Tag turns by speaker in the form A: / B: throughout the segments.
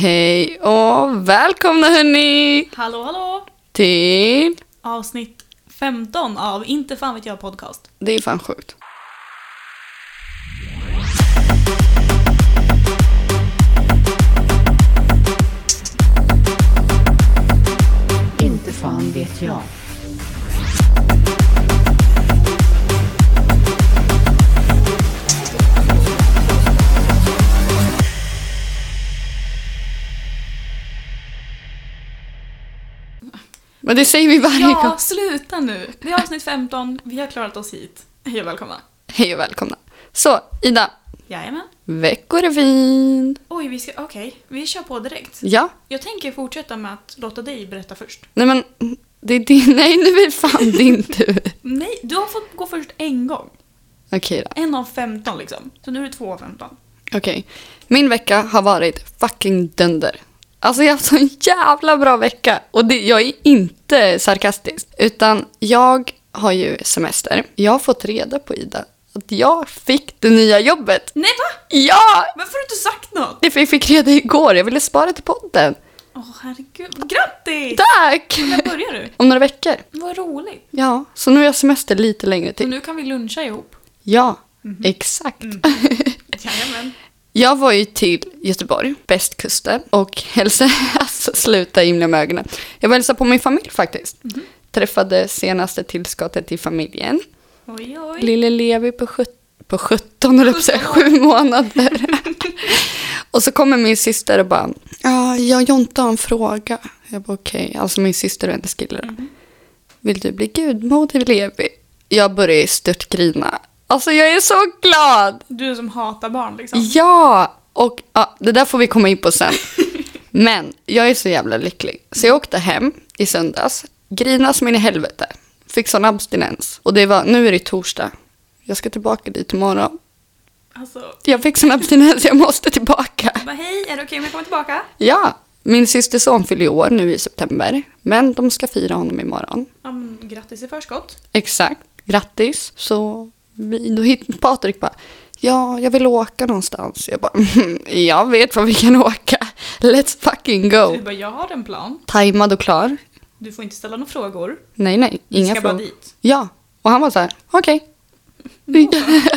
A: Hej och välkomna hörni
B: Hallå hallå!
A: till...
B: Avsnitt 15 av Inte fan vet jag podcast.
A: Det är fan sjukt.
C: Inte fan vet jag.
A: Men det säger vi varje
B: Ja,
A: gång.
B: sluta nu! Det är avsnitt 15, vi har klarat oss hit. Hej och välkomna!
A: Hej och välkomna. Så, Ida.
B: Jajamän.
A: Veckorevyn.
B: Oj, vi ska... Okej, vi kör på direkt.
A: Ja.
B: Jag tänker fortsätta med att låta dig berätta först.
A: Nej men, det är din... Nej, nu är det fan din tur.
B: Nej, du har fått gå först en gång.
A: Okej då.
B: En av 15 liksom. Så nu är det två av 15.
A: Okej. Min vecka har varit fucking dunder. Alltså jag har haft en jävla bra vecka. Och det, jag är inte sarkastisk. Utan jag har ju semester. Jag har fått reda på Ida att jag fick det nya jobbet.
B: Nej va?
A: Ja!
B: Varför har du inte sagt något?
A: Det fick- fick reda igår, jag ville spara till podden.
B: Åh herregud, grattis!
A: Tack!
B: När börjar du?
A: Om några veckor.
B: Vad roligt.
A: Ja, så nu har jag semester lite längre
B: Och
A: till.
B: nu kan vi luncha ihop.
A: Ja, exakt.
B: Jajamän.
A: Jag var ju till Göteborg, västkusten, och hälsade... Alltså sluta himla med ögonen. Jag var och hälsade på min familj faktiskt. Träffade senaste tillskottet till familjen.
B: Oj oj.
A: Lille Levi på, sjut- på 17, höll jag på att säga, sju månader. och så kommer min syster och bara, ja, jag Jonte har en fråga. Jag bara okej, alltså min syster och hennes kille då. Vill du bli gudmor till Levi? Jag börjar störtgrina. Alltså jag är så glad!
B: Du som hatar barn liksom.
A: Ja! Och ja, det där får vi komma in på sen. Men jag är så jävla lycklig. Så jag åkte hem i söndags, grinade som in i helvete, fick sån abstinens. Och det var, nu är det torsdag. Jag ska tillbaka dit imorgon.
B: Alltså,
A: Jag fick sån abstinens, jag måste tillbaka.
B: bara hej, är det okej om jag kommer tillbaka?
A: Ja, min systerson fyller ju år nu i september. Men de ska fira honom imorgon.
B: Ja, men grattis i förskott.
A: Exakt. Grattis. Så vi, då hittade Patrik bara, ja, jag vill åka någonstans. Jag bara, "Mhm, jag vet var vi kan åka. Let's fucking go.
B: Du bara, jag har en plan.
A: Tajmad och klar.
B: Du får inte ställa några frågor.
A: Nej, nej,
B: Vi
A: inga
B: ska bara
A: frågor.
B: dit.
A: Ja, och han var så här, okej.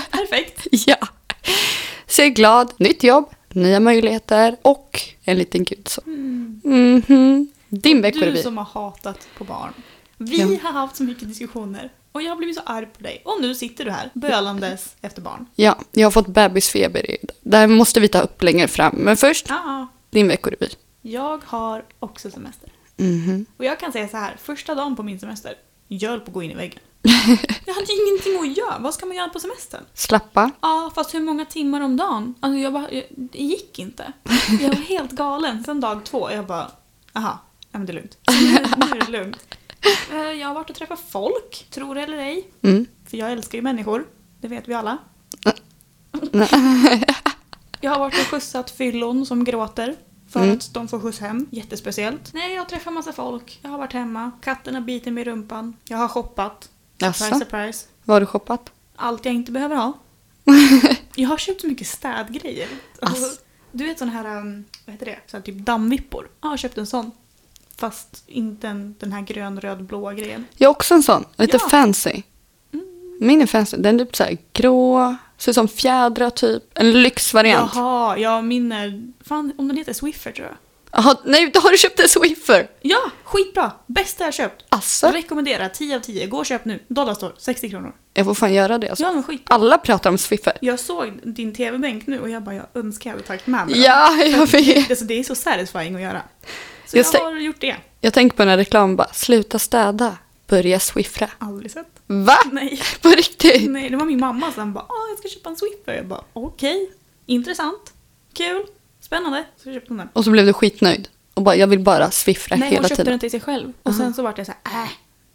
B: Perfekt.
A: ja. Så jag är glad, nytt jobb, nya möjligheter och en liten gud så. Mhm. Din
B: Du
A: veckorevy.
B: som har hatat på barn. Vi
A: Ja.
B: har haft så mycket diskussioner och jag har blivit så arg på dig. Och nu sitter du här bölandes efter barn.
A: Ja, jag har fått bebisfeber. i- Det här måste vi ta upp längre fram. Men först,
B: Ah,
A: din veckorevy.
B: jag har också semester.
A: Mhm.
B: Och jag kan säga så här, första dagen på min semester, jag höll på att gå in i väggen. Jag hade ingenting att göra. Vad ska man göra på semestern?
A: Slappa.
B: Ja, fast hur många timmar om dagen? Alltså jag bara, jag, det gick inte. Jag var helt galen. Sen dag två, jag bara, aha, ja men det är lugnt. Nu, nu är det lugnt. Eh, Jag har varit och träffat folk, tror det eller ej.
A: Mm.
B: För jag älskar ju människor, det vet vi alla. Jag har varit och skjutsat fyllon som gråter. För att de får skjuts hem. Jättespeciellt. Nej, jag har träffat massa folk. Jag har varit hemma. Katten har bitit mig i rumpan. Jag har shoppat. Surprise,
A: Jaså?
B: surprise.
A: Vad har du shoppat?
B: Allt jag inte behöver ha. Jag har köpt så mycket städgrejer. Alltså,
A: Ass.
B: Du vet sån här, um, vad heter det? Så här, typ dammvippor. Ja, jag har köpt en sån. Fast inte en, den här grön, röd, blåa grejen.
A: Jag är också en sån, lite
B: Ja. Mm.
A: fancy. Min är fancy, den är typ såhär grå, ser ut som fjädrar typ. En lyxvariant. Jaha.
B: Jaha, jag minner... Fan, om den heter Swiffer tror jag.
A: nej, då har du köpt en Swiffer!
B: Ja, skitbra! Bästa jag köpt.
A: Asså,
B: Rekommenderar 10 av 10. Gå och köp nu. Dollarstore, 60 kronor.
A: jag får fan göra det alltså.
B: Ja, men skit.
A: Alla pratar om Swiffer.
B: Jag såg din tv-bänk nu och jag bara, jag önskar jag hade tagit med mig den.
A: Ja, jag vet.
B: Alltså, det är så satisfying att göra. Så
A: Just
B: jag
A: det.
B: har gjort det.
A: Jag tänker på den här reklamen bara, sluta städa, börja swiffra.
B: Aldrig sett.
A: Va?
B: Nej.
A: På riktigt?
B: Nej, det var min mamma som bara Åh, jag ska köpa en Swiffer. Jag bara okej, intressant, kul, spännande. Så köpte hon den.
A: Och så blev du skitnöjd. Och bara, jag vill bara swiffra
B: Nej, hon
A: Äh, hela
B: köpte
A: tiden.
B: den till sig själv. Och sen så vart jag så här, äh,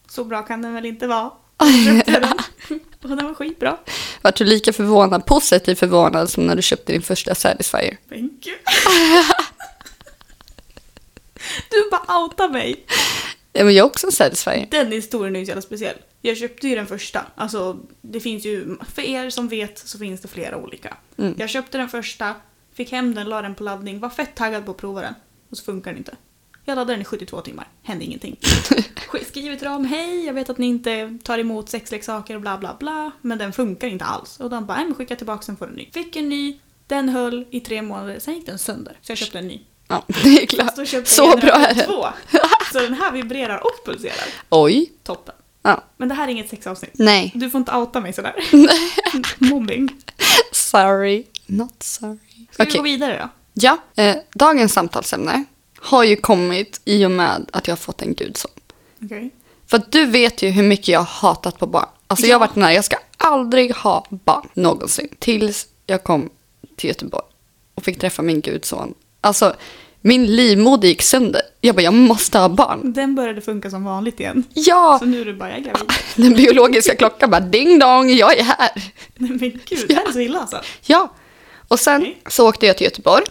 B: så bra kan den väl inte vara. Och så köpte jag den. Och den var skitbra.
A: Vart du lika förvånad, positivt förvånad som när du köpte din första Satisfyer?
B: Men gud. Du bara outar mig.
A: Ja, men jag är också en Satisfyer.
B: Den historien är ju så jävla speciell. Jag köpte ju den första. Mm. Alltså, det finns ju, för er som vet så finns det flera olika. Jag köpte den första, Fick hem den, la den på laddning, var fett taggad på att prova den. Och så funkar den inte. Jag laddade den i 72 timmar, hände ingenting. Sk- Skrivit till dem, hej jag vet att ni inte tar emot sexleksaker och bla bla bla. Men den funkar inte alls. Och de bara, "Nej, men skicka tillbaka den får en ny. Fick en ny, den höll i tre månader, sen gick den sönder. Så jag köpte en ny.
A: Ja, det är
B: Och så
A: klart.
B: köpte
A: Så
B: jag
A: bra är
B: generation
A: det.
B: två. Så den här vibrerar och pulserar.
A: Oj.
B: Toppen.
A: Ja.
B: Men det här är inget sexavsnitt.
A: Nej.
B: Du får inte outa mig sådär. Mobbing.
A: Sorry. Not sorry.
B: Ska vi
A: Okej.
B: gå vidare då?
A: Ja. Eh, dagens samtalsämne har ju kommit i och med att jag har fått en gudson.
B: Okej.
A: För att du vet ju hur mycket jag har hatat på barn. Alltså jag har varit den här, jag ska aldrig ha barn någonsin. Tills jag kom till Göteborg och fick träffa min gudson. Alltså min livmoder gick sönder. Jag bara, jag måste ha barn.
B: Den började funka som vanligt igen.
A: Ja!
B: Så nu är du bara, jag är gravid.
A: Den biologiska klockan bara ding dong, jag är här.
B: Nej men gud, det här är så illa alltså.
A: Ja. Och sen
B: Okej.
A: så åkte jag till Göteborg,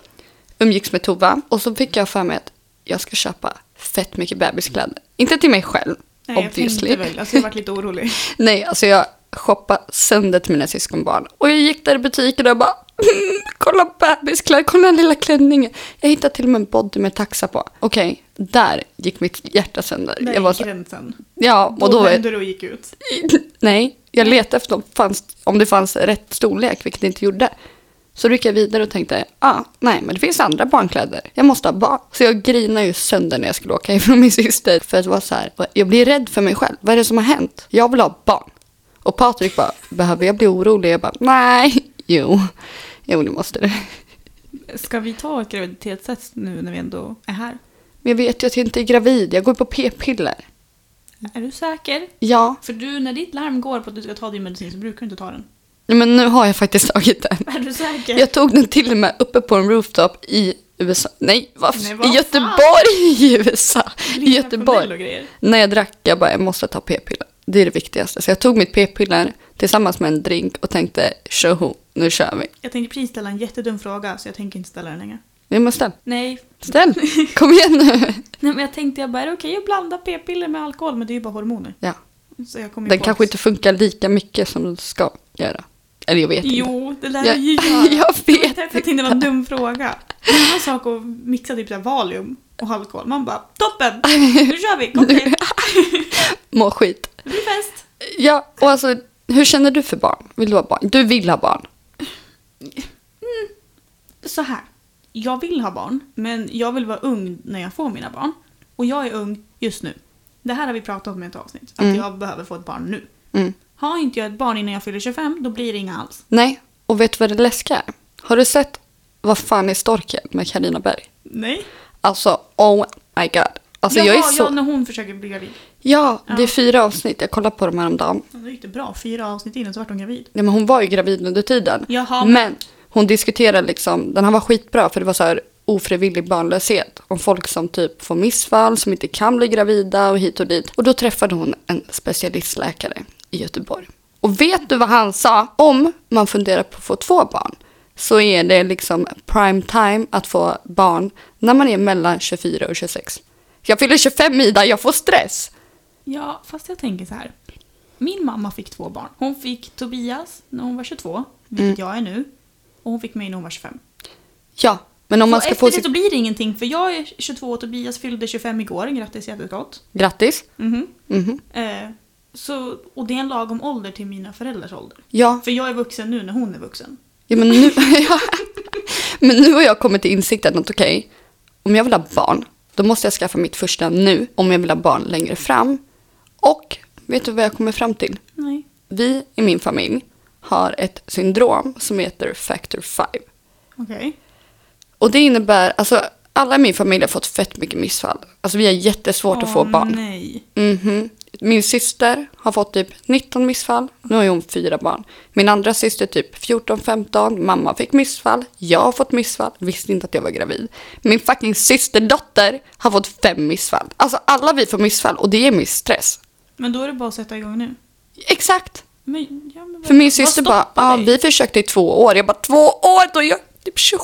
A: umgicks med Tova och så fick jag för mig att jag ska köpa fett mycket bebiskläder. Inte till mig själv,
B: Nej, jag
A: obviously.
B: tänkte väl. Alltså jag varit lite orolig.
A: Nej, alltså jag shoppade sönder till mina syskonbarn. Och jag gick där i butiken och bara, "Mm, kolla bebiskläder, kolla den lilla klänningen. Jag hittade till och med en body med taxa på. Okej, där gick mitt hjärta sönder.
B: Där
A: jag var
B: gick
A: så,
B: gränsen.
A: ja,
B: Då,
A: och då var jag,
B: vände du och gick ut.
A: nej, jag letade efter om, fanns, om det fanns rätt storlek, vilket det inte gjorde. Så då gick jag vidare och tänkte, ah, nej, men det finns andra barnkläder. Jag måste ha barn. Så jag grinade ju sönder när jag skulle åka ifrån min syster. För att det var så här, jag blir rädd för mig själv. Vad är det som har hänt? Jag vill ha barn. Och Patrik bara, behöver jag bli orolig? Jag bara, nej, jo, jo, det måste du.
B: Ska vi ta ett graviditetstest nu när vi ändå är här?
A: Men jag vet ju att jag inte är gravid. Jag går på p-piller.
B: Är du säker?
A: Ja,
B: För du, när ditt larm går på att du ska ta din medicin så brukar du inte ta den.
A: men nu har jag faktiskt tagit den.
B: Är du säker?
A: Jag tog den till och med uppe på en rooftop i USA. Nej, varför?
B: Nej, vad
A: I Göteborg i USA. I
B: Lilla Cornell och
A: Göteborg.
B: grejer.
A: När jag drack, jag bara, jag måste ta p-piller. Det är det viktigaste. Så jag tog mitt p-piller tillsammans med en drink och tänkte, tjoho, nu kör vi.
B: Jag tänkte precis ställa en jättedum fråga så jag tänker inte ställa den längre.
A: Nej, men ställ.
B: Nej,
A: Ställ. Kom igen nu.
B: Nej men jag tänkte jag bara, är det okej att blanda p-piller med alkohol? Men det är ju bara hormoner.
A: Ja,
B: Så jag kommer ju
A: den
B: på
A: kanske
B: att-
A: inte funkar lika mycket som den ska göra. Eller jag vet inte.
B: Jo, det lär
A: Jag-
B: jag ju göra.
A: jag
B: Det var
A: vet
B: därför jag tänkte det var en dum fråga. Det är en annan sak att mixa typ så här Valium och alkohol. Man bara, toppen! Nu kör vi! Kom igen!
A: Må skit.
B: Det blir fest!
A: Ja, och alltså, hur känner du för barn? Vill du ha barn? Du vill ha barn.
B: Så här. Jag vill ha barn, men jag vill vara ung när jag får mina barn. Och jag är ung just nu. Det här har vi pratat om i ett avsnitt. Att
A: Mm.
B: jag behöver få ett barn nu.
A: Mm.
B: Har inte jag ett barn innan jag fyller 25, då blir det inga alls.
A: Nej, och vet du vad det läskiga är? Har du sett Vad fan är storken med Karina Berg?
B: Nej.
A: Alltså, oh my god. Alltså
B: Jaha,
A: jag är så...
B: ja, när hon försöker bli gravid.
A: Ja, det är
B: Ja.
A: fyra avsnitt. Jag kollade på dem häromdagen.
B: Ja, Det gick det bra. Fyra avsnitt innan så vart hon gravid.
A: Nej, men hon var ju gravid under tiden.
B: Jaha.
A: Men hon diskuterade liksom, den här var skitbra för det var så här ofrivillig barnlöshet. Om folk som typ får missfall, som inte kan bli gravida och hit och dit. Och då träffade hon en specialistläkare i Göteborg. Och vet du vad han sa? Om man funderar på att få två barn så är det liksom prime time att få barn när man är mellan 24 och 26. Jag fyller 25 Ida, jag får stress!
B: Ja, fast jag tänker så här. Min mamma fick två barn. Hon fick Tobias när hon var 22, vilket
A: Mm.
B: jag är nu. Och hon fick mig när hon var 25.
A: Ja, men om man
B: så
A: ska
B: efter
A: få
B: det
A: sitt...
B: så blir det ingenting för jag är 22 och Tobias fyllde 25 igår. Grattis jättegott.
A: Grattis!
B: Mhm.
A: Mhm.
B: Eh, så, och det är en lagom ålder till mina föräldrars ålder.
A: Ja,
B: För jag är vuxen nu när hon är vuxen.
A: Ja, men, nu, ja. men nu har jag kommit till insikten att okej, om jag vill ha barn, då måste jag skaffa mitt första nu om jag vill ha barn längre fram. Och vet du vad jag kommer fram till?
B: Nej.
A: Vi i min familj har ett syndrom som heter factor 5.
B: Okej.
A: Och det innebär, alltså alla i min familj har fått fett mycket missfall. Alltså vi har jättesvårt att få
B: Åh,
A: barn.
B: nej.
A: Mhm. Min syster har fått typ 19 missfall. Nu har ju hon fyra barn. Min andra syster typ 14-15. Mamma fick missfall. Jag har fått missfall. Visste inte att jag var gravid. Min fucking systerdotter har fått fem missfall. Alltså alla vi får missfall och det ger mig stress.
B: Men då är det bara att sätta igång nu.
A: Exakt.
B: Men, ja, men vad-
A: För min
B: vad
A: syster bara,
B: stoppar
A: ja
B: dig?
A: vi försökte i två år. Jag bara, två år? Då är jag typ 27.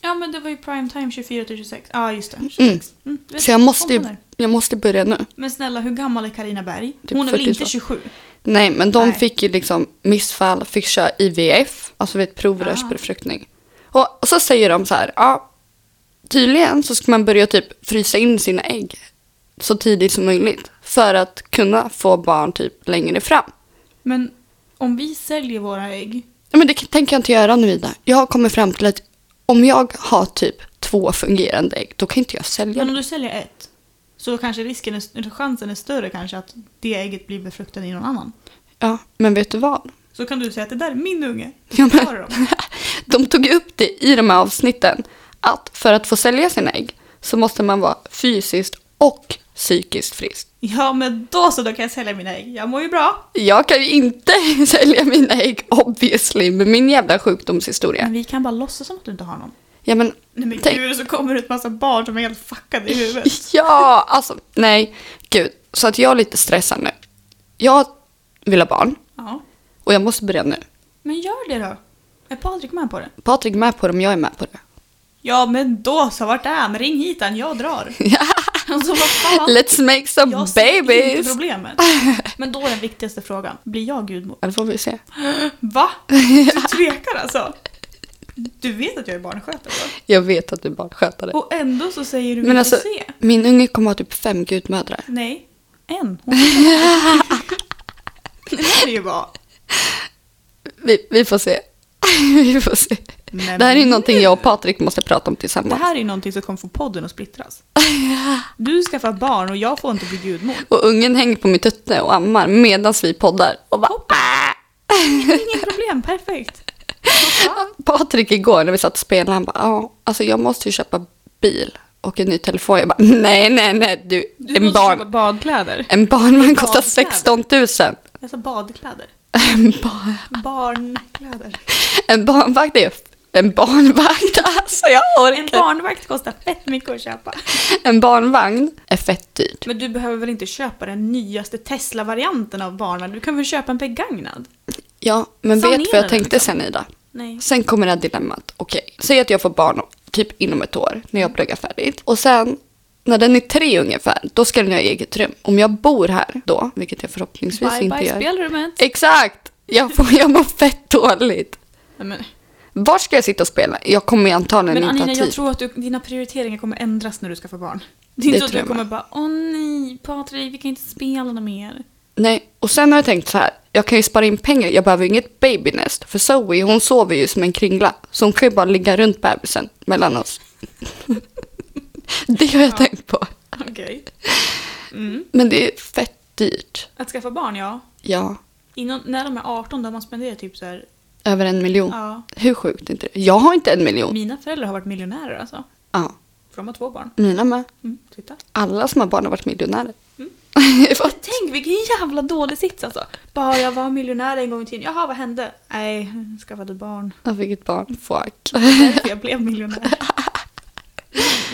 B: Ja men det var ju prime time 24 till 26. Ja ah, just det. 26.
A: Mm.
B: Mm, vet
A: Så jag
B: du,
A: måste ju,
B: komma där.
A: jag måste börja nu.
B: Men snälla, hur gammal är Karina Berg?
A: Typ
B: Hon är väl inte
A: 42?
B: 27?
A: Nej, men de
B: Nej.
A: fick ju liksom missfall, fick köra IVF, alltså vid ett provrörsbefruktning. Och, och så säger de så här, ja, tydligen så ska man börja typ frysa in sina ägg så tidigt som möjligt för att kunna få barn typ längre fram.
B: Men om vi säljer våra ägg,
A: Ja, men det kan- tänker jag inte göra nu Ida. Jag har kommit fram till att om jag har typ två fungerande ägg, då kan inte jag sälja
B: men
A: dem.
B: om du säljer ett, så kanske risken är, eller chansen är större kanske att det ägget blir befruktat i någon annan.
A: Ja, men vet du vad?
B: Så kan du säga att det där är min unge.
A: Ja, men-
B: Ta dem.
A: De tog ju upp det i de här avsnitten att för att få sälja sina ägg så måste man vara fysiskt och psykiskt frisk.
B: Ja, men då så, då kan jag sälja mina ägg. Jag mår ju bra.
A: Jag kan ju inte sälja mina ägg obviously med min jävla sjukdomshistoria.
B: Men vi kan bara låtsas som att du inte har någon.
A: Ja men,
B: Nej men
A: Tänk-
B: gud, så kommer det ett massa barn som är helt fuckade i huvudet.
A: ja alltså nej, gud. Så att jag är lite stressad nu. Jag vill ha barn
B: Ja.
A: och jag måste börja nu.
B: Men gör det då. Är Patrik med på det?
A: Patrik är med på det, men jag är med på det.
B: Ja, men då så, vart är han? Ring hit han, jag drar. alltså vad fan.
A: Let's make some
B: jag ser inte
A: babies!
B: problemet. Men då är den viktigaste frågan, blir jag gudmor?
A: Ja, det får vi se.
B: Va? Du tvekar alltså? Du vet att jag är barnskötare va?
A: Jag vet att du bara sköter det.
B: Och ändå så säger du
A: Men
B: vi
A: alltså,
B: får se.
A: min unge kommer ha typ fem gudmödrar.
B: Nej, en. Hon Det här är ju bara...
A: Vi, vi får se. vi får se.
B: Men
A: det här är ju någonting jag och Patrik måste prata om tillsammans.
B: Det här är ju någonting som kommer få podden att splittras. Du skaffar barn och jag får inte bli gudmor.
A: Och ungen hänger på min tutte och ammar medan vi poddar. Och bara, "Ah!"
B: Inget problem, perfekt.
A: Patrik igår när vi satt och spelade, han bara, ja, alltså jag måste ju köpa bil och en ny telefon. Jag bara, nej, nej, nej, du,
B: Du
A: en,
B: måste köpa
A: barn,
B: badkläder.
A: en barnvagn kostar
B: barnkläder.
A: 16 000.
B: Jag sa badkläder.
A: En, barn,
B: Barnkläder.
A: en barnvagn är en barnvagn, alltså jag orkar
B: En
A: inte.
B: barnvakt kostar fett mycket att köpa.
A: En barnvagn är fett dyrt.
B: Men du behöver väl inte köpa den nyaste Tesla-varianten av barnvagn? Du kan väl köpa en begagnad?
A: Ja, men
B: Sanera
A: vet du vad
B: den, liksom.
A: jag tänkte sen Ida?
B: Nej.
A: Sen kommer det här dilemmat. Okej, säg att jag får barn typ inom ett år när jag pluggar färdigt. Och sen när den är tre ungefär, då ska den ha eget rum. Om jag bor här då, vilket jag förhoppningsvis
B: Bye
A: inte
B: bye
A: gör.
B: spelrummet.
A: Exakt! Jag, får, jag mår fett dåligt.
B: Nej, Men,
A: Var ska jag sitta och spela? Jag kommer ju antagligen
B: men
A: inte
B: Anina,
A: ha tid.
B: jag tror att du, dina prioriteringar kommer ändras när du ska få barn. Det är
A: Det
B: inte så att
A: tror
B: du
A: jag
B: kommer bara åh nej, Patrik, vi kan inte spela något mer.
A: Nej, och sen har jag tänkt så här. Jag kan ju spara in pengar. Jag behöver ju inget babynest. För Zoe, hon sover ju som en kringla. Så hon kan ju bara ligga runt bebisen mellan oss. det har jag tänkt på.
B: Okej. Mm.
A: Men det är fett dyrt.
B: Att skaffa barn, ja.
A: Ja,
B: Inom, när de är 18 då har man spenderat typ så här,
A: över en miljon.
B: ja.
A: Hur sjukt är inte det? Jag har inte en miljon.
B: Mina föräldrar har varit miljonärer alltså.
A: Ja,
B: För de har två barn.
A: mina med.
B: Mm, titta.
A: Alla som har barn har varit miljonärer. Vad-
B: Tänk vilken jävla dålig sits alltså. Bara jag var miljonär en gång i tiden. Jaha, vad hände? Nej, jag skaffade barn.
A: Jag fick ett barn. Fuck.
B: Därför jag blev miljonär. Mm,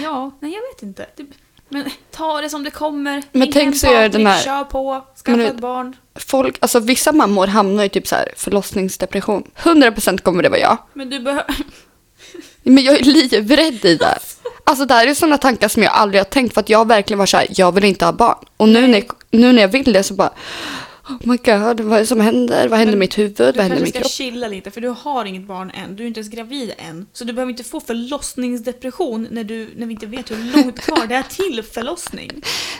B: ja, nej jag vet inte. Typ, men ta det som det kommer.
A: Men
B: Ring
A: tänk
B: hem
A: så gör
B: Patrik,
A: den här-
B: Kör på,
A: Men
B: skaffa
A: du-
B: ett barn.
A: Folk, alltså vissa mammor hamnar i typ så här förlossningsdepression. 100% kommer det vara jag.
B: Men du behöver...
A: Men jag är livrädd i det. Alltså det här är sådana tankar som jag aldrig har tänkt för att jag verkligen var så här, jag vill inte ha barn. Och nu när, jag, nu när jag vill det så bara, oh my god, vad är det som händer? Vad händer i mitt huvud?
B: Du
A: Vad händer i
B: kanske
A: min
B: ska
A: kropp?
B: chilla lite för du har inget barn än. Du är inte ens gravid än. Så du behöver inte få förlossningsdepression när, du, när vi inte vet hur långt kvar det är till förlossning.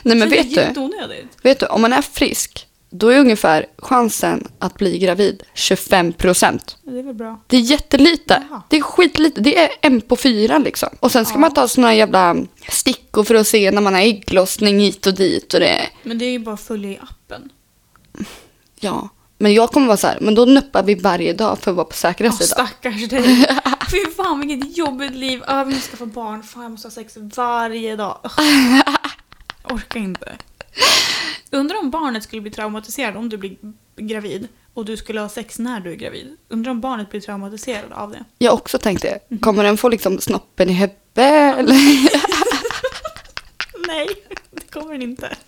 A: Nej men
B: så
A: vet
B: det är
A: du,
B: jätteonödigt.
A: vet du, om man är frisk, då är ungefär chansen att bli gravid 25%.
B: Ja, Det är väl bra.
A: Det är jättelite.
B: Jaha.
A: Det är skitlite. Det är en på fyra liksom. Och sen ska
B: Ja.
A: man ta såna jävla stickor för att se när man har ägglossning hit och dit och det är
B: Men det är ju bara att följa i appen.
A: Ja, men jag kommer vara så här, men då nuppar vi varje dag för att vara på säkra
B: Ja,
A: sidan.
B: stackars dig. Fy fan vilket jobbigt liv. Ah, vi måste få barn. Fan jag måste ha sex varje dag. Ugh. Orkar inte. Undrar om barnet skulle bli traumatiserat om du blir gravid och du skulle ha sex när du är gravid. Undrar om barnet blir traumatiserat av det.
A: Jag har också tänkt det. Kommer den få liksom snoppen i hubbe? eller?
B: Nej, det kommer den inte.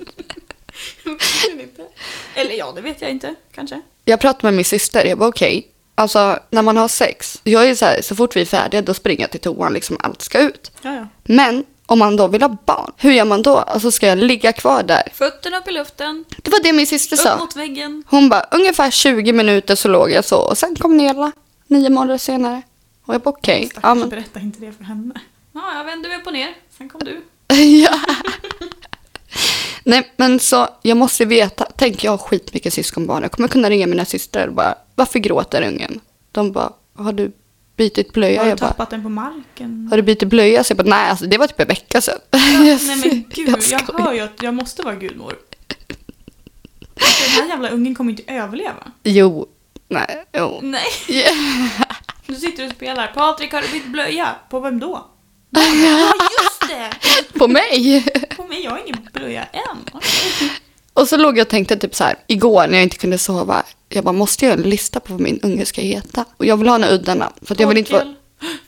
B: Det kommer den inte. Eller ja, det vet jag inte. Kanske.
A: Jag pratade med min syster, jag bara okej. Alltså när man har sex, jag är så här, så fort vi är färdiga då springer jag till toan, liksom allt ska ut.
B: Ja, ja.
A: Men om man då vill ha barn, hur gör man då? Alltså ska jag ligga kvar där?
B: Fötterna upp i luften,
A: Det var det min syster
B: upp
A: sa.
B: mot väggen.
A: Hon bara, ungefär 20 minuter så låg jag så och sen kom Nela, nio månader senare. Och jag bara okej. Ja,
B: Stackars,
A: men,
B: berätta inte det för henne. Ja, jag vände mig upp och ner. Sen kom du.
A: ja. Nej, men så jag måste veta. Tänk, jag har skitmycket syskonbarn. Jag kommer kunna ringa mina systrar och bara, varför gråter ungen? De bara, har du bytt blöja?
B: Har du
A: jag bara,
B: tappat den på marken?
A: har du bytt blöja? Så jag bara, nej, alltså, det var typ en vecka sedan.
B: Ja, nej men gud, jag,
A: skojar.
B: hör ju att jag måste vara gudmor. Alltså, Den här jävla ungen kommer inte överleva.
A: Jo, nej, jo.
B: Nej,
A: Ja.
B: nu sitter du och spelar. Patrik, har du bytt blöja? På vem då? Ja, just det!
A: På mig!
B: På mig, jag har ingen blöja än.
A: Och så låg jag och tänkte typ så här, igår när jag inte kunde sova, jag bara måste göra en lista på vad min unge ska heta. Och jag vill ha några udda namn, för att jag vill inte vara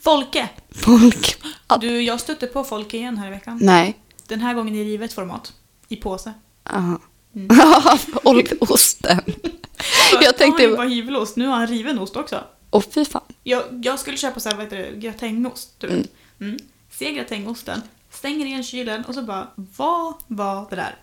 B: Folkel. Folke!
A: folk. Ja,
B: Du, jag stötte på Folke igen här i veckan.
A: nej.
B: Den här gången i rivet format. I påse.
A: Aha.
B: Mm.
A: Och osten. Jag
B: Han
A: tänkte,
B: var hyvelost, nu har han riven ost också.
A: åh fy fan.
B: Jag, jag skulle köpa så här, vad heter det, gratängost. Du vet. Mm. Ser gratängosten, stänger igen kylen och så bara, vad var det där?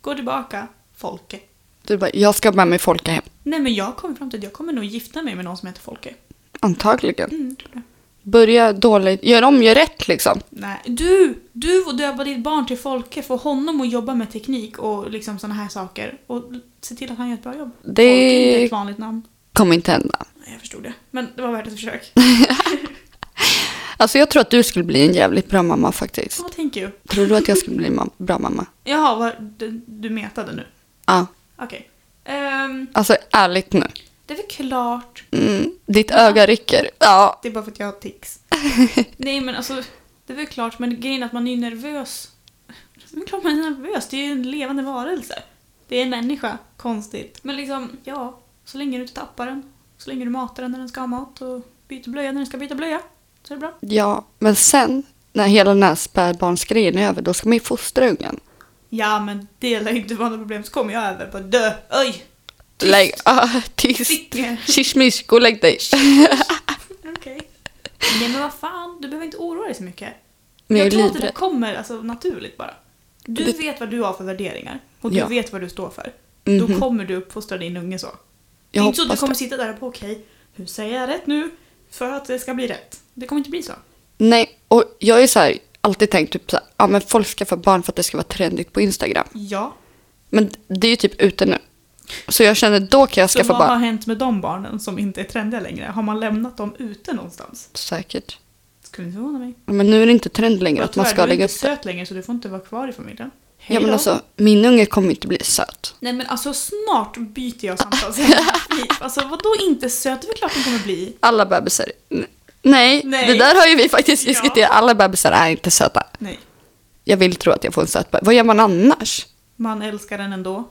B: Går tillbaka, Folke.
A: Du bara, jag ska med mig Folka hem.
B: Nej men jag kommer fram till att jag kommer nog gifta mig med någon som heter Folke.
A: Antagligen.
B: Mm, tror det.
A: Börja dåligt, gör om, gör rätt liksom.
B: Nej, du! Du får döpa ditt barn till Folke, få honom att jobba med teknik och liksom såna här saker. Och se till att han gör ett bra jobb.
A: Det-
B: Folke är inte ett vanligt namn.
A: Kommer inte hända.
B: Nej, jag förstod det. Men det var värt ett försök.
A: Alltså jag tror att du skulle bli en jävligt bra mamma faktiskt.
B: Vad tänker du?
A: Tror du att jag skulle bli en ma- bra mamma?
B: Jaha, vad, du, du metade nu.
A: Ja,
B: Okej. Ehm,
A: alltså ärligt nu.
B: det är väl klart.
A: Mm, ditt öga rycker. Ja,
B: Det är bara för att jag har tics. Nej men alltså, det är väl klart. Men grejen är att man är ju nervös. Det är väl klart man är nervös. Det är ju en levande varelse. Det är en människa. Konstigt. Men liksom, ja. Så länge du inte tappar den. Så länge du matar den när den ska ha mat och byter blöja när den ska byta blöja. Så är det bra.
A: Ja, men sen när hela den här spädbarnsgrejen är över, då ska man ju fostra ungen.
B: Ja men det lär ju inte vara något problem. Så kommer jag över på dö. Oj! Tyst.
A: Lägg, ah, tyst.
B: Sitt ner.
A: Kishmish, gå och lägg dig.
B: Okej. Nej men vad fan, du behöver inte oroa dig så mycket.
A: Men jag är
B: jag tror att det
A: livrädd.
B: kommer alltså, naturligt bara. Du
A: Det-
B: vet vad du har för värderingar och du
A: Ja.
B: vet vad du står för.
A: Mhm.
B: Då kommer du uppfostra din unge så. det
A: Jag
B: är inte så att du
A: hoppas
B: kommer
A: det.
B: sitta där och på okej, hur säger jag rätt nu för att det ska bli rätt? Det kommer inte bli så.
A: Nej, och jag är så här, alltid tänkt typ så här, ja men folk skaffar barn för att det ska vara trendigt på Instagram.
B: Ja.
A: Men det är ju typ ute nu. Så jag känner, då kan jag
B: Så
A: skaffa
B: vad har
A: barn.
B: hänt med de barnen som inte är trendiga längre? Har man lämnat dem ute någonstans?
A: Säkert.
B: Skulle inte förvåna mig.
A: Ja, Men nu är det inte trend längre
B: Och
A: att man
B: tyvärr,
A: ska
B: du är
A: lägga
B: inte
A: upp det.
B: söt längre så du får inte vara kvar i familjen. Hej
A: Ja men
B: då.
A: alltså, min unge kommer inte bli söt.
B: Nej men alltså snart byter jag samtalsämne. alltså vadå inte söt? Det är väl klart den kommer bli.
A: Alla bebisar, n- nej,
B: Nej.
A: det där har ju vi faktiskt
B: Ja.
A: diskuterat. Alla bebisar är inte söta.
B: Nej.
A: Jag vill tro att jag får en söt bebis. Vad gör man annars?
B: Man älskar den ändå.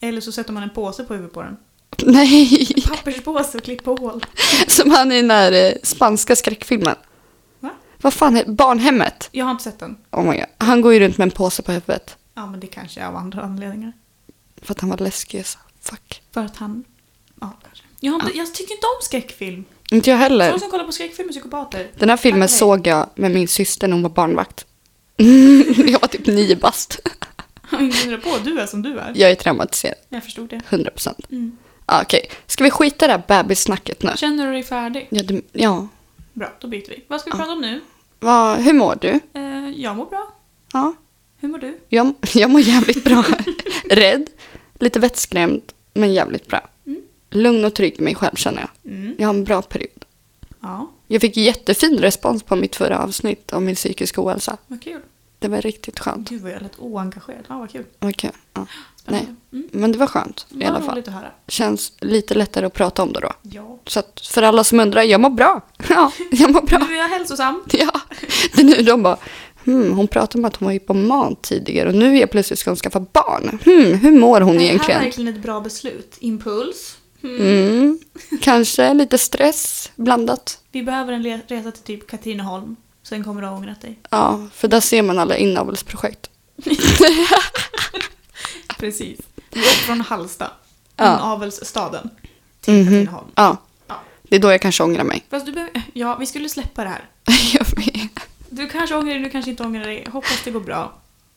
B: Eller så sätter man en påse på huvudet på den.
A: Nej,
B: Papperspåse och klipper hål.
A: som han i den här eh, spanska skräckfilmen.
B: Va?
A: Vad fan är Barnhemmet?
B: Jag har inte sett den.
A: Oh my God. Han går ju runt med en påse på huvudet.
B: Ja, men det kanske är av andra anledningar.
A: För att han var läskig. Så. Fuck.
B: För att han... Ja, kanske. Jag, har inte, jag tycker inte om skräckfilm.
A: Inte jag
B: Folk
A: heller.
B: som kollar på skräckfilm är psykopater.
A: Den här filmen
B: Tack för
A: såg jag med min syster när hon var barnvakt. jag var typ nio bast.
B: Jag undrar på, du är som du är.
A: Jag är traumatiserad.
B: Jag förstod det.
A: 100 procent. Ah,
B: Mm.
A: Okej, ska vi skita det här bebissnacket nu?
B: Känner du dig färdig?
A: Ja, det, ja.
B: Bra, då byter vi. Vad ska vi prata om nu?
A: Va, hur mår du?
B: Eh, jag mår bra.
A: Ja,
B: Hur mår du?
A: jag, jag mår jävligt bra. Rädd, lite vettskrämd, men jävligt bra.
B: Mm.
A: Lugn och trygg i mig själv känner jag.
B: Mm.
A: Jag har en bra period.
B: Ja,
A: Jag fick jättefin respons på mitt förra avsnitt om min psykiska ohälsa.
B: vad kul.
A: Det var riktigt skönt.
B: Gud vad jag lät oengagerad. Ja, vad kul.
A: Okej. Ja.
B: Spännande. Mm.
A: Men det var skönt i alla
B: Vad
A: fall.
B: roligt att höra.
A: Känns lite lättare att prata om det då.
B: Ja.
A: Så att för alla som undrar, jag mår bra. Ja, jag mår bra.
B: Nu är jag hälsosam.
A: Ja. Det är nu de bara, hmm, hon pratade om att hon var hypoman tidigare och nu är plötsligt ska hon skaffa barn. Hmm, hur mår hon
B: Det här är
A: egentligen?
B: verkligen ett bra beslut. Impuls.
A: Mm, kanske lite stress blandat.
B: Vi behöver en le- resa till typ Katrineholm. Sen kommer du ha ångrat dig.
A: Ja, för där ser man alla inavelsprojekt.
B: Precis. Vi åker från Halsta,
A: Ja.
B: inavelsstaden, till
A: Mhm.
B: Katrineholm.
A: Ja,
B: Ja.
A: det är då jag kanske ångrar mig.
B: Fast du behöver... Ja, vi skulle släppa det här.
A: jag vet.
B: Du kanske ångrar dig, du kanske inte ångrar dig. Hoppas det går bra.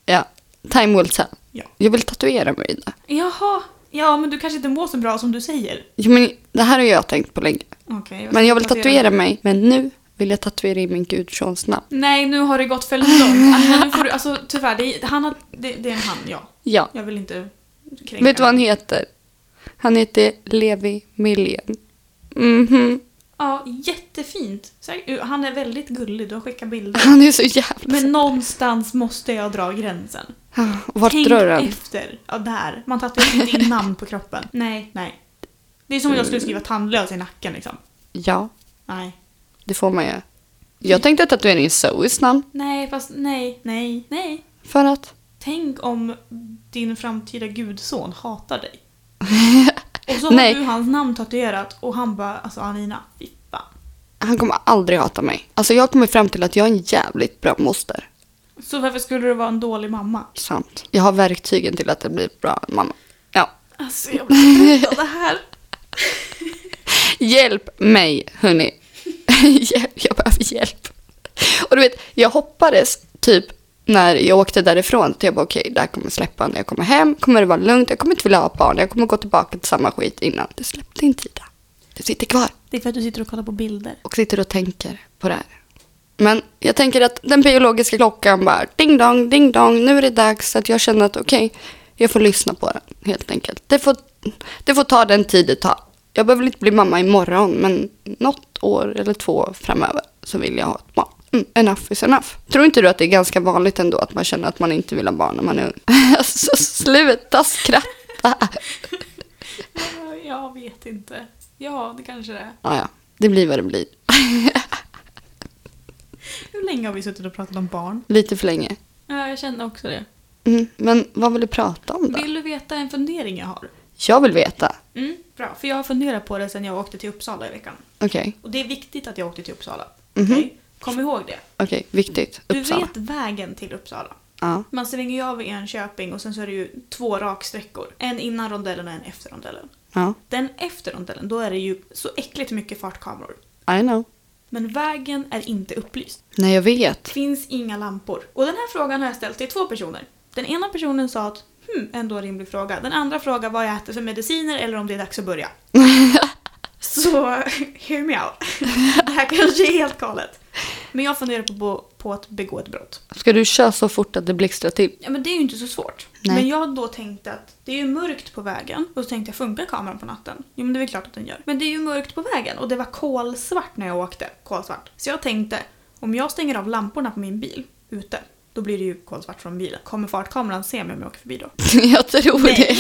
A: Ja, time will tell.
B: Ja.
A: Jag vill tatuera mig i det.
B: Jaha. Ja, men du kanske inte mår så bra som du säger.
A: Jo, men det här har jag tänkt på länge.
B: Okej. vad ska
A: Men jag
B: du
A: vill tatuera mig, men nu vill jag tatuera in min gudfars namn?
B: Nej, nu har det gått för långt. Alltså, nu får du, alltså tyvärr, det är, han har, det, det är en han, ja.
A: Ja.
B: Jag vill inte kränka
A: Vet du vad han
B: honom.
A: heter? Han heter Levi Millen. Mhm.
B: Ja, jättefint. Säkert- Han är väldigt gullig, du har skickat bilder.
A: Han är så jävla...
B: Men någonstans måste jag dra gränsen.
A: Ah, Vart
B: Tänk
A: drar han?
B: efter. Ja, där. Man tatuerar inte in namn på kroppen. Nej, nej. Det är som om jag skulle skriva tandlös i nacken liksom.
A: Ja,
B: Nej.
A: det får man ju. Jag tänkte tatuera in Zoes namn.
B: Nej, fast nej, nej, nej.
A: För att?
B: Tänk om din framtida gudson hatar dig. Och så har
A: Nej.
B: du hans namn tatuerat och han bara, alltså Anina, fy fan.
A: Han kommer aldrig hata mig. Alltså jag kommer fram till att jag är en jävligt bra moster.
B: Så varför skulle du vara en dålig mamma?
A: Sant. Jag har verktygen till att det blir bra mamma. Ja.
B: Alltså jag blir trött av det här.
A: Hjälp mig, hörni. hjälp, jag behöver hjälp. Och du vet, jag hoppades typ när jag åkte därifrån. att Jag bara okej, det här kommer släppa när jag kommer hem. Kommer det vara lugnt? Jag kommer inte vilja ha barn. Jag kommer gå tillbaka till samma skit innan. Det släppte inte Ida. Det sitter kvar.
B: Det är för att du sitter och kollar på bilder.
A: och sitter och tänker på det här. Men jag tänker att den biologiska klockan bara ding dong, ding dong, nu är det dags att jag känner att okej, jag får lyssna på den helt enkelt. Det får, det får ta den tid det tar. Jag behöver inte bli mamma imorgon, men något år eller två framöver så vill jag ha ett barn. Mm, enough is enough. Tror inte du att det är ganska vanligt ändå att man känner att man inte vill ha barn när man är ung? alltså sluta skratta!
B: Jag vet inte. Ja, det kanske det är.
A: Ah, ja, det blir vad det blir.
B: Hur länge har vi suttit och pratat om barn?
A: Lite för länge.
B: Ja, jag känner också det.
A: Mm, men vad vill du prata om då?
B: Vill du veta en fundering jag har?
A: Jag vill veta.
B: Mm, bra. För jag har funderat på det sedan jag åkte till Uppsala i veckan.
A: Okej,
B: Och det är viktigt att jag åkte till Uppsala.
A: Mhm.
B: Okej? Kom ihåg det.
A: okej, viktigt.
B: Du
A: Uppsala.
B: vet vägen till Uppsala.
A: Ja.
B: Man svänger ju av i Enköping och sen så är det ju två raksträckor. En innan rondellen och en efter rondellen.
A: ja,
B: Den efter rondellen, då är det ju så äckligt mycket fartkameror.
A: I know.
B: Men vägen är inte upplyst.
A: Nej, jag vet.
B: finns inga lampor. Och den här frågan har jag ställt till två personer. Den ena personen sa att hmm, ändå en rimlig fråga. Den andra frågade vad jag äter för mediciner eller om det är dags att börja. Så hear me out. Det här kanske är helt galet. Men jag funderar på, på att begå ett brott.
A: Ska du köra så fort att det blixtrar till?
B: Ja men det är ju inte så svårt.
A: Nej.
B: Men jag då tänkte att det är ju mörkt på vägen. Och så tänkte jag, funkar kameran på natten? Jo men det är väl klart att den gör. Men det är ju mörkt på vägen och det var kolsvart när jag åkte. Kolsvart. Så jag tänkte, om jag stänger av lamporna på min bil ute, då blir det ju kolsvart från bilen. Kommer fartkameran se mig om jag åker förbi då?
A: jag tror det.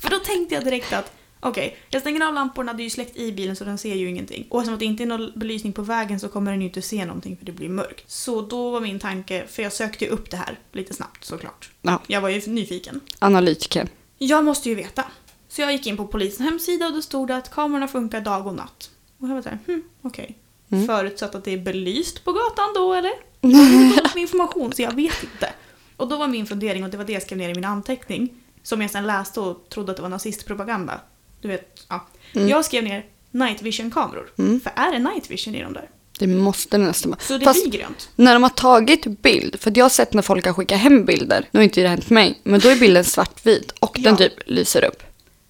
B: För då tänkte jag direkt att Okej, jag stänger av lamporna, det är ju släckt i bilen så den ser ju ingenting. Och eftersom att det inte är någon belysning på vägen så kommer den ju inte se någonting för det blir mörkt. Så då var min tanke, för jag sökte ju upp det här lite snabbt såklart.
A: Ja,
B: Jag var ju nyfiken.
A: analytiker.
B: Jag måste ju veta. Så jag gick in på polisens hemsida och då stod det att kamerorna funkar dag och natt. Och jag var såhär, hm, okej.
A: Mm.
B: Förutsatt att det är belyst på gatan då eller? Jag har inte fått någon information så jag vet inte. Och då var min fundering, och det var det jag skrev ner i min anteckning, som jag sen läste och trodde att det var nazistpropaganda. Du vet, ja.
A: Mm.
B: Jag skrev ner night vision-kameror.
A: Mm.
B: För är det night vision i de där?
A: Det måste det nästan vara.
B: Så det
A: Fast
B: blir grönt.
A: när de har tagit bild, för att jag har sett när folk har skickat hem bilder, nu har inte det hänt mig, men då är bilden svartvit och den
B: Ja.
A: typ lyser upp.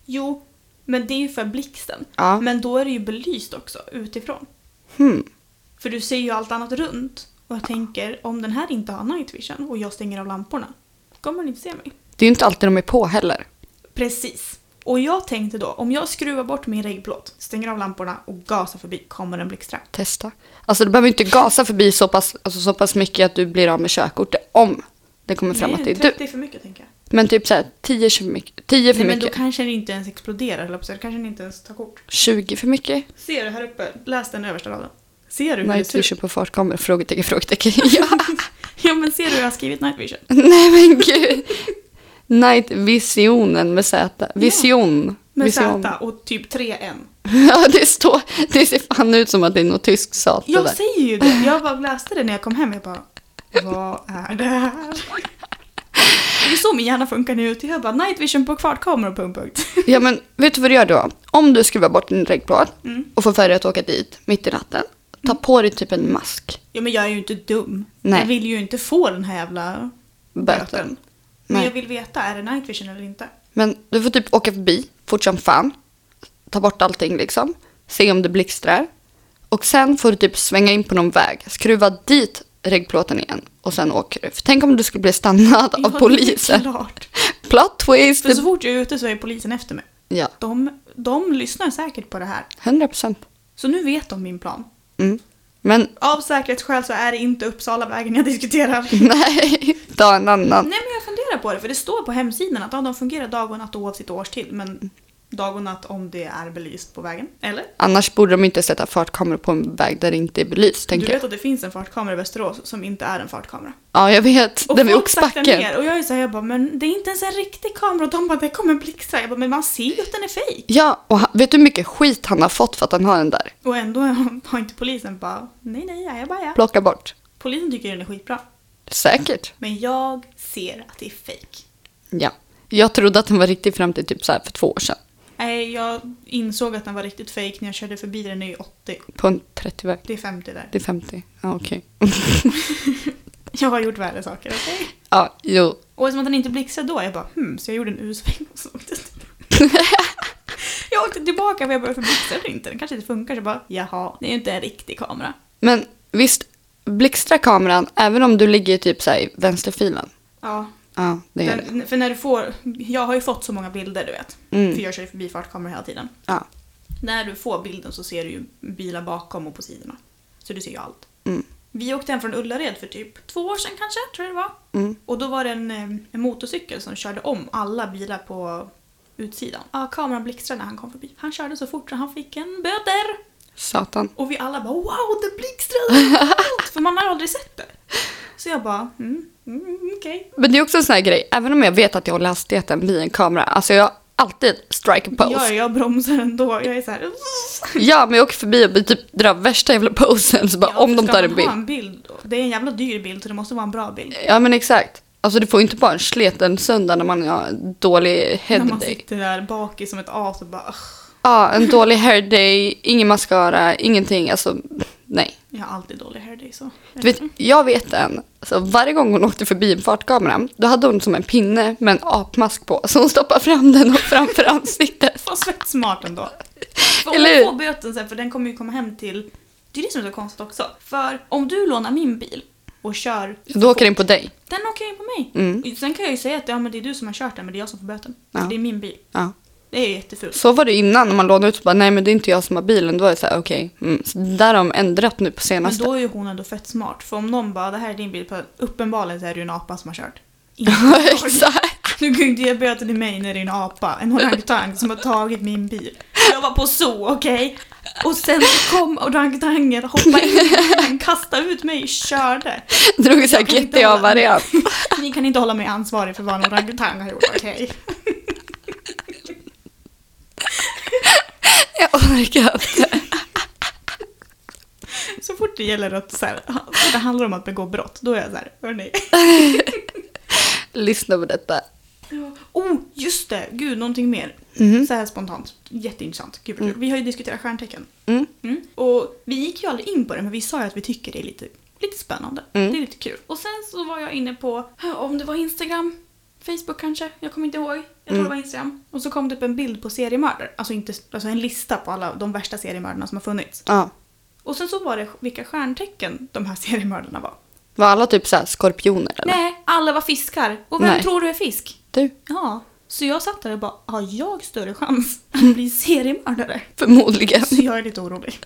B: Jo, men det är ju för blixten.
A: Ja.
B: Men då är det ju belyst också utifrån.
A: Hmm.
B: För du ser ju allt annat runt. Och jag tänker, om den här inte har night vision och jag stänger av lamporna, då kommer den inte se mig.
A: Det är ju inte alltid de är på heller.
B: Precis. Och jag tänkte då, om jag skruvar bort min reggplåt, stänger av lamporna och gasar förbi, kommer den blixtra.
A: Testa. Alltså du behöver inte gasa förbi så pass, alltså, så pass mycket att du blir av med körkortet om det kommer fram att det är du.
B: det är för mycket tänker jag.
A: Men typ såhär 10 för mycket. 10 för
B: typ- Nej, men då
A: mycket.
B: kanske den inte ens exploderar, eller så kanske den inte ens tar kort.
A: 20 för mycket.
B: Ser du här uppe? Läs den översta raden. Ser du hur det
A: Night
B: ser ut?
A: vision på fartkameror? Frågetecken, frågetecken. ja.
B: Ja, men ser du hur jag har skrivit night vision?
A: Nej men gud. Night visionen med Z. Vision.
B: Med
A: Vision.
B: Z och typ 3 N.
A: Ja, det står. Det ser fan ut som att det är något tyskt sat det
B: Jag
A: där.
B: säger ju det. Jag bara läste det när jag kom hem. Jag bara, vad är det här? Det är så min hjärna funkar nu. Jag bara, night vision på kvartkameror, punkt, punkt.
A: Ja men vet du vad du gör då? Om du skruvar bort din reggplåt
B: Mm.
A: och får för dig att åka dit mitt i natten. Ta på dig typ en mask.
B: Ja, men jag är ju inte dum.
A: Nej.
B: Jag vill ju inte få den här jävla
A: Böten.
B: böten. Men
A: Nej.
B: jag vill veta, är det night vision eller inte?
A: Men du får typ åka förbi fort som fan. Ta bort allting liksom. Se om det blixtrar. Och sen får du typ svänga in på någon väg, skruva dit regplåten igen och sen åker du. För tänk om du skulle bli stannad
B: Ja, det
A: av
B: är
A: polisen.
B: Klart.
A: Plot twist!
B: För så fort jag är ute så är polisen efter mig.
A: Ja,
B: De, de lyssnar säkert på det här.
A: 100 procent.
B: Så nu vet de min plan.
A: Mm. Men
B: Av säkerhetsskäl så är det inte Uppsalavägen jag diskuterar.
A: nej, ta en annan.
B: Nej men jag funderar på det för det står på hemsidan att ja, de fungerar dag och natt oavsett årstid. Men dag och natt om det är belyst på vägen. Eller?
A: Annars borde de inte sätta fartkameror på en väg där det inte är belyst,
B: Du
A: tänker jag.
B: vet att det finns en fartkamera i Västerås som inte är en fartkamera.
A: Ja, jag vet.
B: Och
A: Den vid
B: folk saktar
A: Oxbacken.
B: ner och jag är såhär, jag bara men det är inte ens en riktig kamera och de bara det kommer blixtra. Jag bara men man ser ju att den är fejk.
A: Ja, och han, vet du hur mycket skit han har fått för att han har den där?
B: Och ändå har inte polisen bara nej nej ajabaja.
A: Plocka bort.
B: Polisen tycker den är skitbra.
A: Säkert.
B: Men jag ser att det är fejk.
A: Ja. Jag trodde att den var riktig fram till typ så här för två år sedan.
B: Nej, jag insåg att den var riktigt fejk när jag körde förbi den i 80.
A: På en 30-väg.
B: Det är 50 där.
A: Det är 50. Ja, okej.
B: Jag har gjort värre saker, okej?
A: ja, jo.
B: Och som att den inte blixtrade då, jag bara hmm, så jag gjorde en U-sväng och så åkte jag Jag åkte tillbaka för jag började för blixtrade inte, den kanske inte funkar. Så jag bara jaha, det är ju inte en riktig kamera.
A: Men visst, blixtrar kameran även om du ligger typ så här i vänsterfilen?
B: Ja,
A: Ja, det gör det.
B: den, för när du får, jag har ju fått så många bilder du vet.
A: Mm.
B: För jag kör ju förbi fartkameror hela tiden.
A: Ja.
B: När du får bilden så ser du ju bilar bakom och på sidorna. Så du ser ju allt.
A: Mm.
B: Vi åkte hem från Ullared för typ två år sedan kanske, tror jag det var.
A: Mm.
B: Och då var det en, eh, en motorcykel som körde om alla bilar på utsidan. Ja, kameran blixtrade när han kom förbi. Han körde så fort så han fick en böter!
A: Satan.
B: Och vi alla bara wow, det blixtrade! överallt!" för man har aldrig sett det. Så jag bara mm, mm okej.
A: Men det är också en sån här grej, även om jag vet att jag håller hastigheten vid en kamera, alltså jag alltid strike a pose.
B: Ja, jag bromsar ändå. Jag är så här...
A: Ja, men jag åker förbi och typ drar värsta jävla posen. Så bara,
B: Ja,
A: om de
B: ska
A: tar
B: man
A: en bild.
B: Ha en bild. då? Det är en jävla dyr bild så det måste vara en bra bild.
A: Ja, men exakt. Alltså du får ju inte bara en sleten söndag när man har en dålig
B: När man
A: hairday.
B: sitter där bakis som ett as och bara "Ugh,
A: Ja, en dålig hairday, ingen mascara, ingenting. Alltså, nej.
B: Jag har alltid dålig hairday så.
A: Du vet, jag vet en. Så varje gång hon åkte förbi en fartkamera, då hade hon som en pinne med en apmask på. Så hon stoppade fram den och framför ansiktet.
B: Fan svettsmart ändå. För
A: Eller hur?
B: om hon får böten sen för den kommer ju komma hem till... Det är det som är så konstigt också. För om du lånar min bil och kör...
A: Då åker den på dig.
B: Den åker ju på mig.
A: Mm.
B: Sen kan jag ju säga att ja, men det är du som har kört den men det är jag som får böten.
A: Ja.
B: För det är min bil.
A: Ja.
B: Det är ju jättefult.
A: Så var det innan när man lånade ut och bara nej men det är inte jag som har bilen. Då var det så här okej. Mm. Så där har de ändrat nu på
B: Men
A: senaste.
B: då är ju hon ändå fett smart. För om någon bara, det här är din bil, på- uppenbarligen så är det ju en apa som har kört. Inte jag.
A: Exakt.
B: Nu kan ju inte ge böter till mig när det är en apa, en orangutang som har tagit min bil. Jag var på zoo, okej? Och sen så kom orangutangen, hoppade in i bilen, kastade ut mig, körde.
A: Drog så här
B: Jag kan inte
A: GTA-variant.
B: Ni kan inte hålla mig ansvarig för vad en orangutang har gjort, okej?
A: Jag orkar inte.
B: Så fort det gäller att så här, så det handlar om att begå brott, då är jag så här, hörni.
A: Lyssna på detta.
B: Oh, just det! Gud, någonting mer.
A: Mhm.
B: Så här spontant. Jätteintressant. Gud, vad kul. Vi har ju diskuterat stjärntecken.
A: Mm.
B: Mm. Och vi gick ju aldrig in på det, men vi sa ju att vi tycker det är lite, lite spännande.
A: Mm.
B: Det är lite kul. Och sen så var jag inne på, om det var Instagram, Facebook kanske, jag kommer inte ihåg. Jag tror
A: Mm.
B: det var Instagram. Och så kom det upp en bild på seriemördare. Alltså, inte, alltså en lista på alla de värsta seriemördarna som har funnits.
A: Ja.
B: Och sen så var det vilka stjärntecken de här seriemördarna var.
A: Var alla typ så här skorpioner eller?
B: Nej, alla var fiskar. Och vem
A: Nej.
B: tror du är fisk?
A: Du?
B: Ja. Så jag satt där och bara, har jag större chans att bli seriemördare?
A: Förmodligen.
B: Så jag är lite orolig.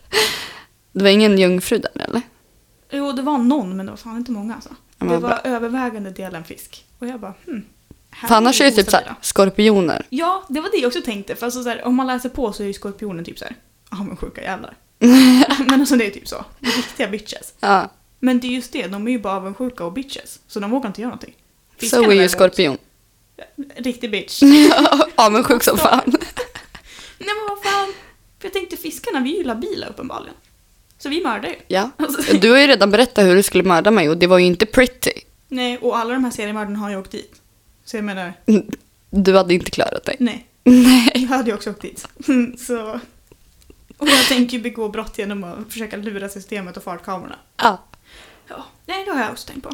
A: Det var ingen jungfru där eller?
B: Jo, det var någon, men det var fan inte många alltså.
A: Ja, men
B: det
A: bra.
B: var övervägande delen fisk. Och jag bara, hmm. här
A: För annars är det typ så
B: ostabila.
A: här, skorpioner.
B: Ja, det var det jag också tänkte. För alltså, så här, om man läser på så är ju skorpionen typ så här, ja men sjuka jävlar. men alltså det är typ så. Riktiga bitches.
A: Ja.
B: Men det är just det, de är ju bara avundsjuka och bitches. Så de vågar inte göra någonting.
A: Så är ju
B: däremot,
A: skorpion. Mm.
B: Riktig bitch.
A: Avundsjuk som fan.
B: Nej men vad fan. För jag tänkte fiskarna, vi är ju labila uppenbarligen. Så vi mördar ju.
A: Ja. Mm.
B: Alltså-
A: Du har ju redan berättat hur du skulle mörda mig och det var ju inte pretty.
B: Nej, och alla de här seriemördarna har ju åkt dit. Så jag menar,
A: Mm. Du hade inte klarat dig.
B: nej.
A: Nej.
B: Jag hade ju också åkt dit. Mm, Så... Och jag tänker ju begå brott genom att försöka lura systemet och fartkamerorna.
A: Ja.
B: Ja, nej det har jag också tänkt på.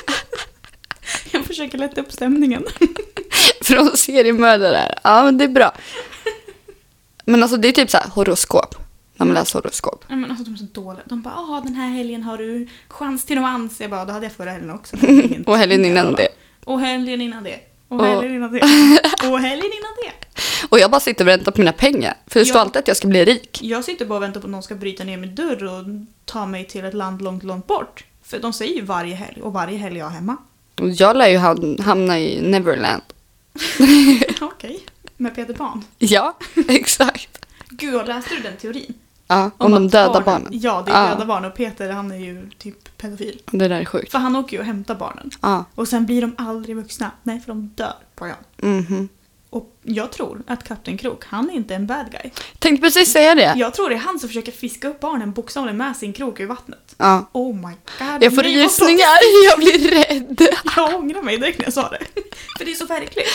B: jag försöker lätta upp stämningen.
A: Från seriemördare. Ja men det är bra. Men alltså det är typ så här horoskop. när man läser horoskop.
B: Nej, men alltså, de är så dåliga. De bara ah den här helgen har du chans till romans. Jag bara, det hade jag förra helgen också.
A: Och helgen innan det.
B: Och helgen innan det. Och
A: Och-
B: helgen innan det. Och helgen innan det.
A: Och jag bara sitter och väntar på mina pengar. För det står
B: Ja.
A: alltid att jag ska bli rik.
B: Jag sitter bara och väntar på att någon ska bryta ner min dörr och ta mig till ett land långt, långt bort. För de säger ju varje helg och varje helg är jag hemma.
A: Och jag lär ju ham- hamna i Neverland.
B: Okej. Med Peter Pan.
A: Ja, exakt.
B: Gud, vad läste du den teorin?
A: Ja, om, de
B: att
A: döda barnen. Ah.
B: Ja, det är
A: Ja.
B: döda barn och Peter han är ju typ pedofil.
A: Det där är sjukt.
B: För han åker ju och hämtar barnen.
A: Ja.
B: Och sen blir de aldrig vuxna. Nej, för de dör på ön.
A: mhm.
B: Och jag tror att Kapten Krok, han är inte en bad guy.
A: Tänkte precis säga det.
B: Jag tror det är han som försöker fiska upp barnen bokstavligen med sin krok ur vattnet.
A: Ja.
B: Oh my god.
A: Jag får
B: nej, vad
A: rysningar, jag blir rädd.
B: pratar- Jag ångrar mig direkt när jag sa det. För det är så verkligt.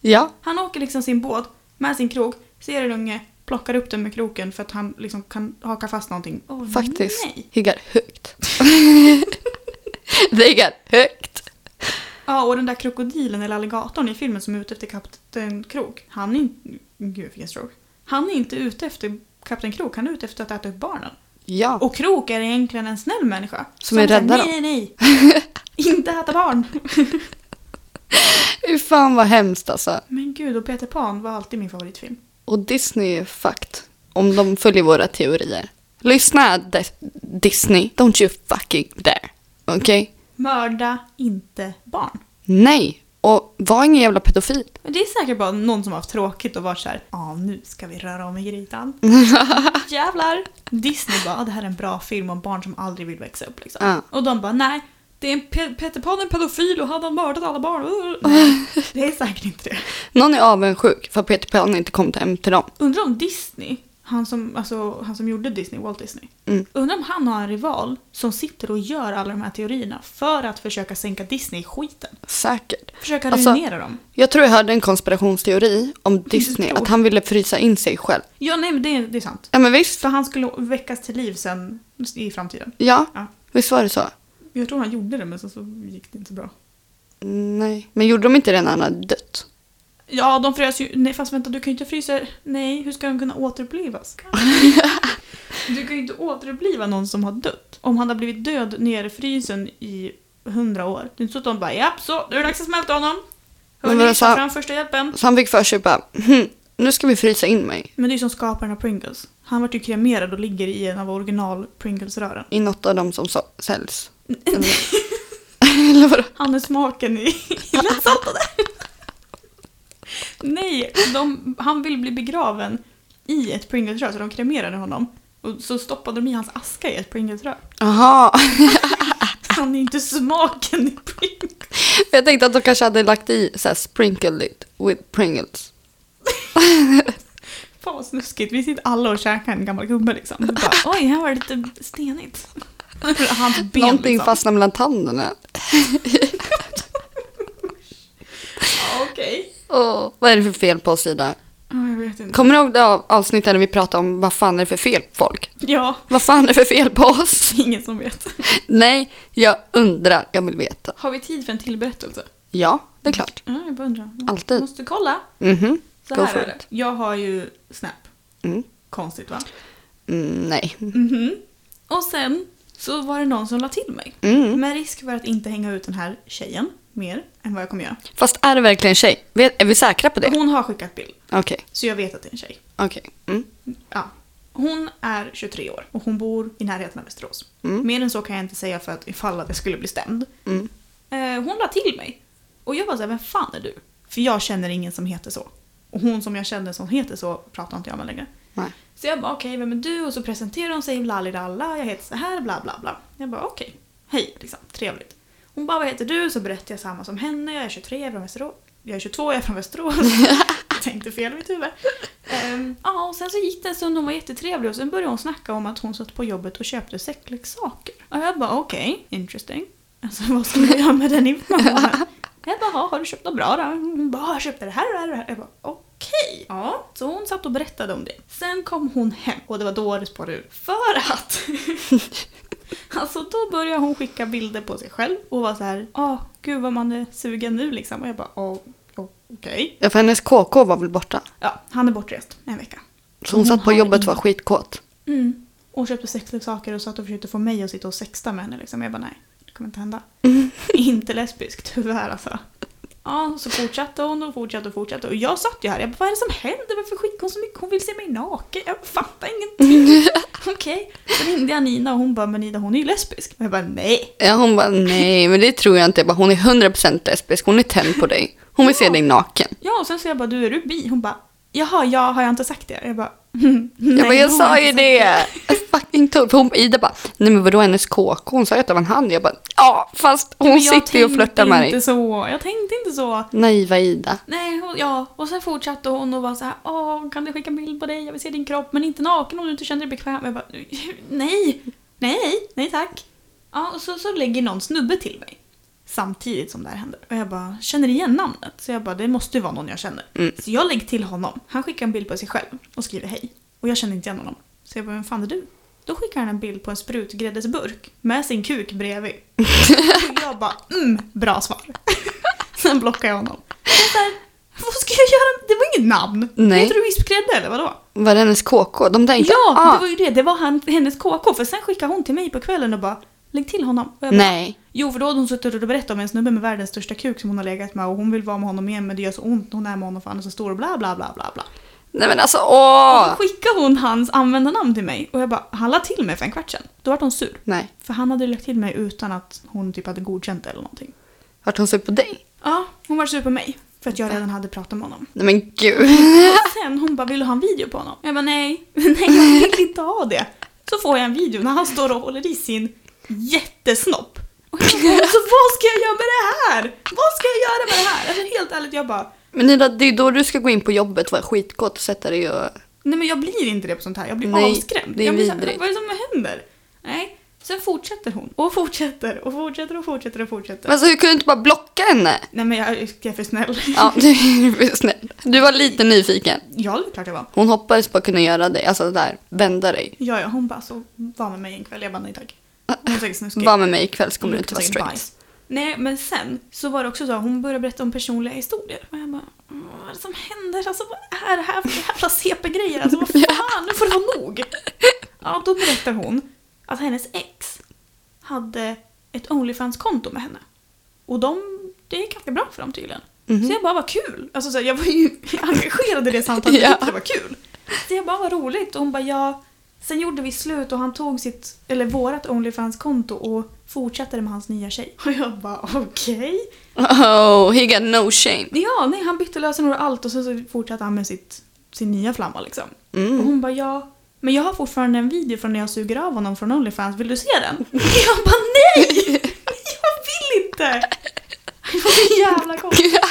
A: Ja,
B: Han åker liksom sin båt med sin krok, ser en unge, plockar upp den med kroken för att han liksom kan haka fast någonting. Åh,
A: faktiskt.
B: Nej.
A: Higgar högt. Det Higgar högt.
B: Ja, och den där krokodilen eller alligatorn i filmen som är ute efter Kapten Krok. Han är inte... Gud, jag fick en stroke. Han är inte ute efter Kapten Krok, han är ute efter att äta upp barnen.
A: Ja.
B: Och Krok är egentligen en snäll människa.
A: Som är
B: säger,
A: rädda
B: Nej, nej, nej. inte äta barn.
A: Fy fan vad hemskt alltså.
B: Men gud, och Peter Pan var alltid min favoritfilm.
A: Och Disney är fakt. Om de följer våra teorier. Lyssna De- Disney, don't you fucking dare. Okej?
B: Mörda inte barn.
A: Nej. Och var ingen jävla pedofil.
B: Men det är säkert bara någon som har haft tråkigt och varit så här, ja nu ska vi röra om i grytan. Jävlar! Disney bara, "Ah, det här är en bra film om barn som aldrig vill växa upp liksom.
A: Ja.
B: Och de bara, nej, det är en Pe- Peter Pan är en pedofil och han har mördat alla barn. Uh.
A: Mm.
B: Nej, det är säkert inte det.
A: Någon är avundsjuk för att Peter Pan inte kom hem till dem.
B: Undrar om Disney, han som, alltså, han som gjorde Disney, Walt Disney.
A: Mm.
B: Undrar om han har en rival som sitter och gör alla de här teorierna för att försöka sänka Disney i skiten.
A: Säkert.
B: Försöka
A: Alltså-
B: ruinera dem.
A: Jag tror jag hörde en konspirationsteori om Disney,
B: tror.
A: att han ville frysa in sig själv.
B: Ja, nej men det, det är sant.
A: Ja men visst.
B: För han skulle väckas till liv sen i framtiden.
A: Ja,
B: Ja.
A: visst var det så?
B: Jag tror han gjorde det men sen så gick det inte så bra.
A: Nej. Men gjorde de inte det när han hade dött?
B: Ja, de frös ju. Nej, fast vänta, du kan ju inte frysa. Nej, hur ska de kunna återupplivas? du kan ju inte återuppliva någon som har dött. Om han har blivit död nere i frysen i hundra år. Det är inte så att de bara japp så, nu är det dags att smälta honom.
A: Men
B: Hörni,
A: vadå, så-
B: ta fram första hjälpen.
A: Så han fick för sig bara, "Hm, nu ska vi frysa in mig
B: Men det är ju som skaparen av Pringles. Han vart ju kremerad och ligger i en av original Pringles-rören.
A: i något av dem som så- säljs. Eller, Eller vadå?
B: Han är smaken i i lättsaltade. Nej, de, han vill bli begraven i ett Pringles-rör så de kremerade honom. Och så stoppade de i hans aska i ett Pringles-rör.
A: Jaha,
B: Han är ju inte smaken i Pringles.
A: jag tänkte att de kanske hade lagt i så här sprinkled it with Pringles.
B: Fan vad snuskigt, vi sitter alla och käkar en gammal gubbe liksom. Du bara, Oj, här var det lite stenigt. Hans ben
A: Någonting
B: liksom.
A: fastnade mellan tanderna.
B: Ja, Okej.
A: Åh, vad är det för fel på oss Ida?
B: Ja, jag vet inte.
A: Kommer du ihåg det av- avsnittet när vi pratade om vad fan är det för fel på folk?
B: Ja,
A: Vad fan är det för fel på oss?
B: ingen som vet.
A: Nej, jag undrar, jag vill veta.
B: Har vi tid för en till berättelse?
A: Ja, det är klart.
B: Ja, jag bara undrar.
A: Alltid.
B: Måste kolla.
A: Mhm.
B: Så
A: Go
B: här
A: for
B: är det.
A: it.
B: Jag har ju Snap.
A: Mm.
B: Konstigt va?
A: Mm, nej.
B: Mhm. Och sen så var det någon som la till mig.
A: Mm.
B: Med risk för att inte hänga ut den här tjejen mer än vad jag kommer göra.
A: Fast är det verkligen tjej? Vet- Är vi säkra på det?
B: Hon har skickat bild,
A: Okej,
B: så jag vet att det är en tjej.
A: okej. Mm.
B: Ja. Hon är 23 år och hon bor i närheten av Västerås.
A: Mm.
B: Mer än så kan jag inte säga för att ifall att jag skulle bli stämd.
A: Mm.
B: Eh, hon la till mig. Och jag bara såhär, vem fan är du? För jag känner ingen som heter så. Och hon som jag känner som heter så pratar inte jag med längre.
A: Nej.
B: Så jag bara okej, vem är du? Och så presenterar hon sig, lalilalla, jag heter så här, bla bla bla. Jag bara okej, hej liksom, trevligt. Hon bara vad heter du? Så berättar jag samma som henne, jag är 23, jag är från Västerås. Jag är 22, jag är från Västerås. jag tänkte fel i mitt huvud. Ehm, ja, och sen så gick det en stund, hon var jättetrevlig och sen började hon snacka om att hon satt på jobbet och köpte sexleksaker. Och jag bara okej, interesting. Alltså vad ska jag göra med den informationen? Jag bara, "Ja, har du köpt något bra då? Hon bara, "Ja, jag köpte det här och det här och det här. Jag bara, okej. Ja. Så hon satt och berättade om det. Sen kom hon hem och det var då det spårade ur. För att... alltså då började hon skicka bilder på sig själv och var så här, ja, gud vad man är sugen nu liksom. Och jag bara, "Ja, okej.
A: Ja, för hennes KK var väl borta?
B: Ja, han är bortrest en vecka.
A: Så hon
B: Hon
A: satt på
B: har
A: jobbet och
B: ingen-
A: var skitkåt.
B: Mm. Och köpte sexleksaker och sa att de försökte få mig att sitta och sexta med henne. Liksom. Jag bara nej, det kommer inte hända. inte lesbisk, tyvärr alltså. Ja, så fortsatte hon och fortsatte och fortsatte. Och jag satt ju här, jag bara, vad är det som händer? Varför skickar hon så mycket? Hon vill se mig naken. Jag fattar ingenting. Okej. Så ringde jag Nina och hon bara, men Nina hon är ju lesbisk. Och jag bara, nej.
A: Ja, hon bara nej, men det tror jag inte. Jag bara, hon är 100% lesbisk, hon är tänd på dig. Hon vill se dig naken.
B: Ja, och sen så jag bara, du är du bi? Hon bara, jaha, ja, har jag inte sagt det? Jag bara,
A: Jag bara, jag
B: hon har
A: sa ju
B: inte sagt
A: det! Fucking tolv. För hon, Ida bara, nej men vadå hennes KK? Hon sa ju att det var en han. Jag bara, ja fast hon
B: Men jag
A: sitter ju och
B: tänkte
A: flörtar med
B: inte
A: dig.
B: Så. Jag tänkte inte så.
A: Naiva Ida.
B: Nej, hon, ja. Och sen fortsatte hon och var så här, Åh, kan du skicka bild på dig? Jag vill se din kropp, men inte naken om du inte känner dig bekväm. Jag bara, nej, nej, nej tack. Ja, och så, så lägger någon snubbe till mig. Samtidigt som det här händer. Och jag bara, känner igen namnet. Så jag bara, det måste ju vara någon jag känner.
A: Mm.
B: Så jag lägger till honom. Han skickar en bild på sig själv och skriver hej. Och jag känner inte igen honom. Så jag bara, vem fan är du? Då skickar han en bild på en sprutgräddesburk med sin kuk bredvid. Och jag bara, mm, bra svar. Sen blockar jag honom. Jag bara, Vad ska jag göra? Det var inget namn.
A: Nej.
B: Heter du vispgrädde eller vadå?
A: Var det hennes KK? De tänkte,
B: Ja,
A: ah,
B: det var ju det. Det var han, hennes KK. För sen skickade hon till mig på kvällen och bara, lägg till honom. Och jag bara,
A: nej.
B: Jo, för då hade hon suttit och berättat om en snubbe med världens största kuk som hon har legat med och hon vill vara med honom igen men det gör så ont när hon är med honom för han är så stor och bla bla bla bla bla.
A: Nej men alltså
B: Och
A: åh!
B: då skickade hon hans användarnamn till mig och jag bara, han la till mig för en kvart sedan. Då vart hon sur.
A: Nej.
B: För han hade lagt till mig utan att hon typ hade godkänt det eller någonting.
A: Vart hon sur på dig?
B: Ja, hon var sur på mig. För att jag redan hade pratat med honom.
A: Nej men gud.
B: Och sen hon bara, vill du ha en video på honom? Jag bara, nej, nej jag vill inte ha det. Så får jag en video när han står och håller i sin jättesnopp. Och jag bara, alltså, vad ska jag göra med det här? Vad ska jag göra med det här? Alltså helt ärligt, jag bara,
A: Men Nida, det är då du ska gå in på jobbet, vara skitgott och sätta dig och...
B: nej men jag blir inte det på sånt här. Jag blir
A: Nej,
B: avskrämd.
A: det är
B: jag blir så här,
A: vidrigt.
B: vad är det som händer? Nej. Sen fortsätter hon och fortsätter och fortsätter och fortsätter och fortsätter.
A: Alltså hur kunde du inte bara blocka henne?
B: Nej men jag, jag är för snäll.
A: Ja, du är för snäll. Du var lite nyfiken.
B: Ja, det är klart jag var.
A: Hon hoppades på att kunna göra dig, alltså där, vända dig.
B: Ja, ja, hon bara så var med mig en kväll. Jag bara nej tack. Hon är säkert snuskig.
A: Var med mig ikväll så kommer du inte
B: Luktar
A: vara
B: Mm, säkert
A: straight.
B: bajs. Nej, men sen så var det också så att hon började berätta om personliga historier. Och jag bara, "Mm, vad är det som händer? Alltså vad är det här för jävla CP-grejer? Alltså vad fan, nu får det vara nog! Ja, då berättar hon att hennes ex hade ett Onlyfans-konto med henne. Och de, det gick ganska bra för dem tydligen.
A: Mm-hmm. Mhm.
B: Så jag bara, vad kul! Alltså så här, jag var ju engagerad i det samtalet,
A: Ja.
B: jag tyckte det var kul. Så jag bara, vad roligt! Och hon bara, ja. Sen gjorde vi slut och han tog sitt, eller vårat Onlyfans-konto och fortsatte med hans nya tjej. Och jag bara, okej.
A: Oh, he got no shame.
B: Ja, nej, han bytte lösenord och allt och sen så fortsatte han med sitt, sin nya flamma liksom. Och
A: Mm.
B: hon bara, ja. Men jag har fortfarande en video från när jag suger av honom från Onlyfans, vill du se den? Jag bara, nej! Jag vill inte! Jag var så jävla konstig.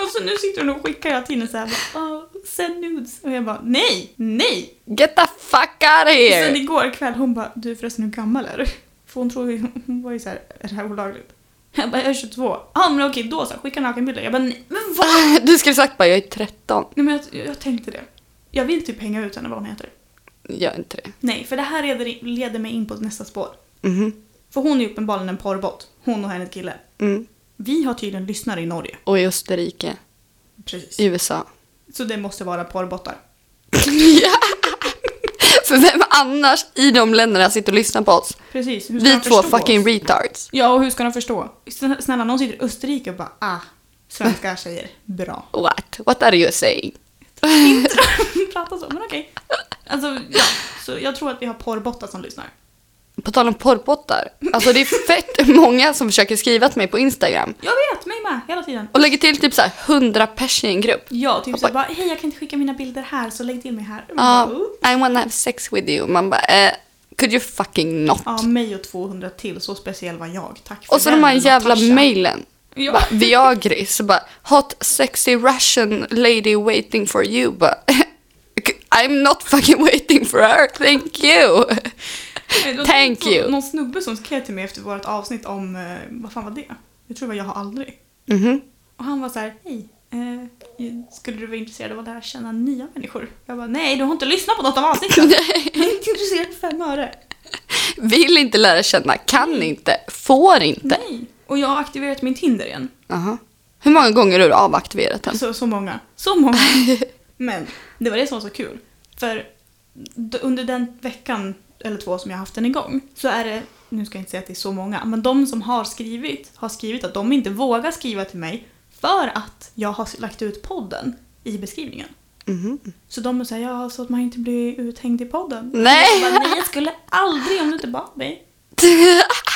B: Och så nu sitter hon och skickar hela tiden såhär, "Ah, send nudes. Och jag bara, nej, nej!
A: Get the fuck out of
B: Och sen
A: here!
B: igår kväll hon bara, du förresten hur gammal är du? För hon tror ju, hon var ju såhär, är det här olagligt? Jag bara, jag är 22. Ja men okej då så, skicka nakenbilder. Jag bara, nej men vad?
A: Du skulle sagt bara jag är 13.
B: Nej men jag, jag tänkte det. Jag vill typ hänga ut henne vad hon heter.
A: Gör inte det.
B: Nej, för det här leder, leder mig in på nästa spår.
A: Mhm.
B: För hon är uppenbarligen en porrbot, hon och hennes kille.
A: Mm.
B: Vi har tydligen lyssnare i Norge.
A: Och i Österrike,
B: Precis.
A: i USA.
B: Så det måste vara porrbottar.
A: Ja. För vem annars i de länderna sitter och lyssnar på oss?
B: Precis. Hur ska
A: Vi
B: de
A: två
B: förstå
A: fucking
B: oss?
A: retards.
B: Ja, och hur ska de förstå? Sn- Snälla, någon sitter i Österrike och bara ah, svenska tjejer, bra.
A: What? What are you saying?
B: inte prata så, men okej. Alltså, ja. Så jag tror att vi har porrbottar som lyssnar.
A: På tal om porrbottar. Alltså det är fett många som försöker skriva till mig på Instagram.
B: Jag vet, mig med, hela tiden.
A: Och lägger till typ så här 100 pers i en grupp.
B: Ja, typ
A: Hoppa.
B: så bara, hej jag kan inte skicka mina bilder här så lägg till mig här. Man
A: Ja,
B: bara, "Oh."
A: I wanna have sex with you. Man bara, eh, could you fucking not?
B: Ja, mig och 200 till, så speciell var jag. Tack för
A: och så
B: den,
A: de här jävla
B: Natasha.
A: mejlen.
B: Ja.
A: Bara, Viagris, så bara hot sexy Russian lady waiting for you. Bara, I'm not fucking waiting for her, thank you.
B: Nej, det var
A: Thank
B: någon-
A: you.
B: Någon snubbe som skrev till mig efter vårt avsnitt om, eh, vad fan var det? Jag tror det var Jag har aldrig.
A: Mhm.
B: Och han var så här, hej, eh, skulle du vara intresserad av att lära känna nya människor? Jag bara, nej du har inte lyssnat på något av avsnitten. jag är inte intresserad för fem öre.
A: Vill inte lära känna, kan inte, får inte.
B: Nej. Och jag har aktiverat min Tinder igen. Alltså,
A: Aha. Hur många gånger har du avaktiverat den?
B: Så, så många. Så många. Men det var det som var så kul. För d- under den veckan eller två som jag har haft den igång så är det, nu ska jag inte säga att det är så många, men de som har skrivit har skrivit att de inte vågar skriva till mig för att jag har lagt ut podden i beskrivningen.
A: Mhm.
B: Så de säger ja, så att man inte blir uthängd i podden.
A: Nej.
B: Jag bara, nej, jag skulle aldrig om du inte bad mig.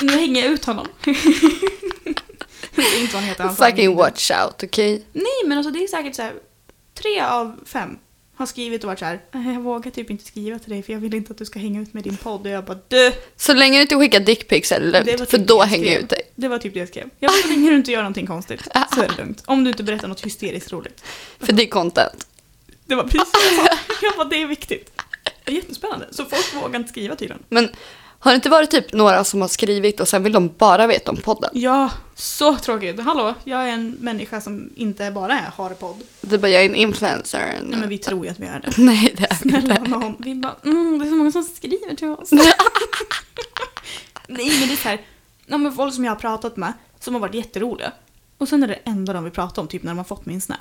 B: Nu hänger jag ut honom. det är inte vad han heter. han
A: Mm-hmm. Fucking
B: fan.
A: watch out, okej?
B: Nej, men alltså det är säkert så här, tre av fem har skrivit och varit så här, "Nej, jag vågar typ inte skriva till dig för jag vill inte att du ska hänga ut med din podd. Och jag bara, du!
A: Så länge du inte skickar dickpics är det
B: Det var
A: lugnt, för
B: typ
A: då
B: det
A: hänger jag
B: skrev.
A: ut dig.
B: Det var typ det jag skrev. Jag bara, så länge du inte gör någonting konstigt så är det lugnt. Om du inte berättar något hysteriskt roligt.
A: För det är content.
B: Det var precis vad jag sa. Jag bara, det är viktigt. Det är jättespännande. Så folk vågar inte skriva tydligen.
A: Men har det inte varit typ några som har skrivit och sen vill de bara veta om podden?
B: Ja, så tråkigt. Hallå, jag är en människa som inte bara är har podd.
A: Du bara, jag är en influencer.
B: Nej men vi tror ju att vi är det.
A: Nej, det är vi inte.
B: Snälla nån. Vi bara, mm, det är så många som skriver till oss. Nej men det är så här, ja, men folk som jag har pratat med som har varit jätteroliga. Och sen är det enda de vill prata om, typ när de har fått min snap.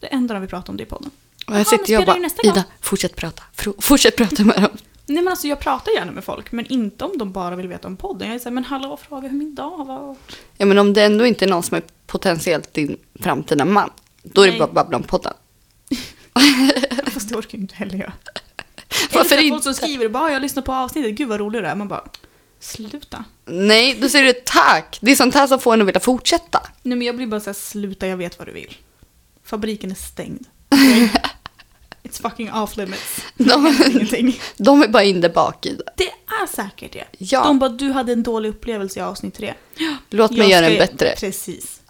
B: Det enda de vill prata om det är podden.
A: Och jag
B: Jaha, men
A: sitter och
B: spelar
A: bara,
B: in nästa gång.
A: Ida, fortsätt prata. Fro- Fortsätt prata med dem.
B: Nej men alltså jag pratar gärna med folk men inte om de bara vill veta om podden. Jag är såhär, men hallå fråga hur min dag var.
A: Ja, men om det ändå inte är någon som är potentiellt din framtida man, då är det
B: Nej.
A: bara att babbla om podden.
B: Fast det orkar ju inte heller jag.
A: Varför
B: Varför
A: inte?
B: Folk som skriver bara "Ah, jag lyssnar på avsnittet, gud vad rolig du är. Man bara sluta.
A: Nej, då säger du tack. Det är sånt här som får en att vilja fortsätta.
B: Nej men jag blir bara såhär sluta jag vet vad du vill. Fabriken är stängd. It's fucking off limits.
A: De,
B: Ingenting.
A: de är bara in där bak, Ida.
B: Det är säkert det.
A: Ja.
B: De bara du hade en dålig upplevelse i avsnitt tre.
A: Låt mig
B: Jag
A: göra en
B: ska-
A: bättre.
B: Precis.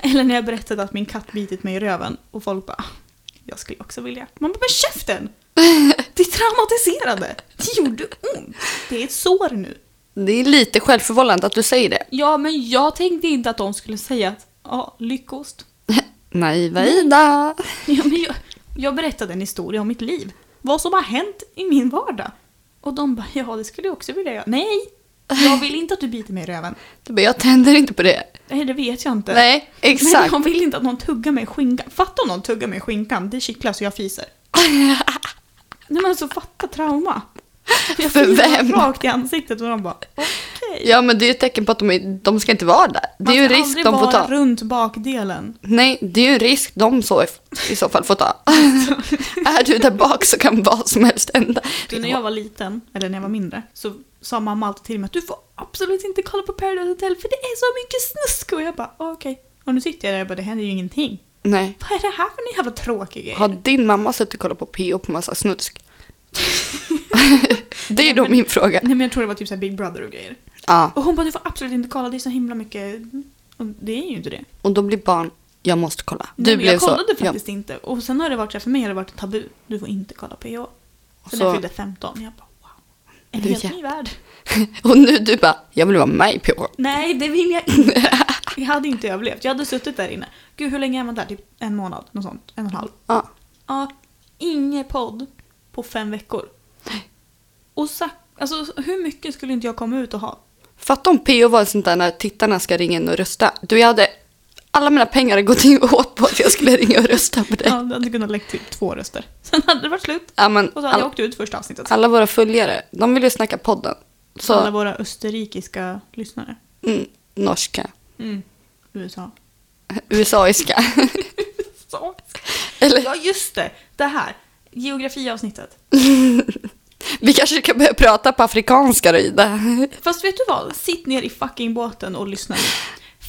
B: Eller när jag berättade att min katt bitit mig i röven och folk bara "Ah, jag skulle också vilja. Man bara men käften! Det är traumatiserande. Det gjorde ont. Det är ett sår nu.
A: Det är lite självförvållande att du säger det.
B: Ja men jag tänkte inte att de skulle säga att ja, lyckost.
A: Naiva Ida.
B: Ja, men jag, jag berättade en historia om mitt liv. Vad som har hänt i min vardag. Och de bara, ja det skulle jag också vilja göra. Nej! Jag vill inte att du biter mig i röven.
A: Du bara, jag tänder inte på det.
B: Nej, det vet jag inte.
A: Nej,
B: Men
A: exakt.
B: jag vill inte att någon tuggar mig i skinkan. Fatta om någon tuggar mig i skinkan, det kittlar så jag fiser. Nej men alltså fatta trauma. Jag
A: För
B: fiser
A: vem?
B: rakt i ansiktet och de bara, okej.
A: Ja, men det är ju ett tecken på att de, är, de ska inte vara där. Det är ju en risk de får
B: Man ska aldrig
A: ta.
B: vara runt bakdelen.
A: Nej, det är ju en risk de så i, i så fall får ta. är du där bak så kan vad som helst hända.
B: Du, när jag var liten, eller när jag var mindre, så sa mamma alltid till mig att du får absolut inte kolla på Paradise Hotel för det är så mycket snusk. Och jag bara, "Ah, okej. Och nu sitter jag där och bara, det händer ju ingenting.
A: Nej.
B: Vad är det här för en jävla tråkig grej?
A: Har din mamma suttit och kollat på PO på massa snusk? det är då min fråga.
B: Nej men jag tror det var typ så här Big Brother och grejer.
A: Ja,
B: Och hon bara, du får absolut inte kolla, det är så himla mycket... Och det är ju inte det.
A: och då blir barn, jag måste kolla. Du
B: Nej, men
A: blev
B: jag kollade
A: så.
B: faktiskt inte. Och sen har det varit så här, för mig har det varit ett tabu. Du får inte kolla PH. Sen
A: Så-
B: jag fyllde 15, jag bara, wow. En
A: Du
B: helt
A: jä-
B: ny värld.
A: Ja. Och nu du bara, jag vill vara med i PO.
B: Nej, det vill jag inte. Jag hade inte överlevt. Jag hade suttit där inne. Gud, hur länge är man där? Typ en månad? Något sånt. En och en halv.
A: Ja.
B: Ja, ingen podd på fem veckor. Och så, alltså hur mycket skulle inte jag komma ut och ha?
A: Fatta om PO var sånt där när tittarna ska ringa in och rösta. Du, jag hade alla mina pengar hade gått in åt på att jag skulle ringa och rösta på dig.
B: Ja,
A: Ja.
B: det hade kunnat lägga typ två röster. Sen hade det varit slut.
A: men
B: Och så hade jag
A: alla,
B: åkt ut första avsnittet.
A: alla våra följare, de vill ju snacka podden. Så,
B: Alla våra österrikiska lyssnare.
A: mm, norska, Mm.
B: USA.
A: USAiska.
B: Så.
A: Eller
B: Ja, just det. Det här. Geografiavsnittet.
A: vi kanske kan börja prata på afrikanska då, Ida.
B: Fast vet du vad? Sitt ner i fucking båten och lyssna nu.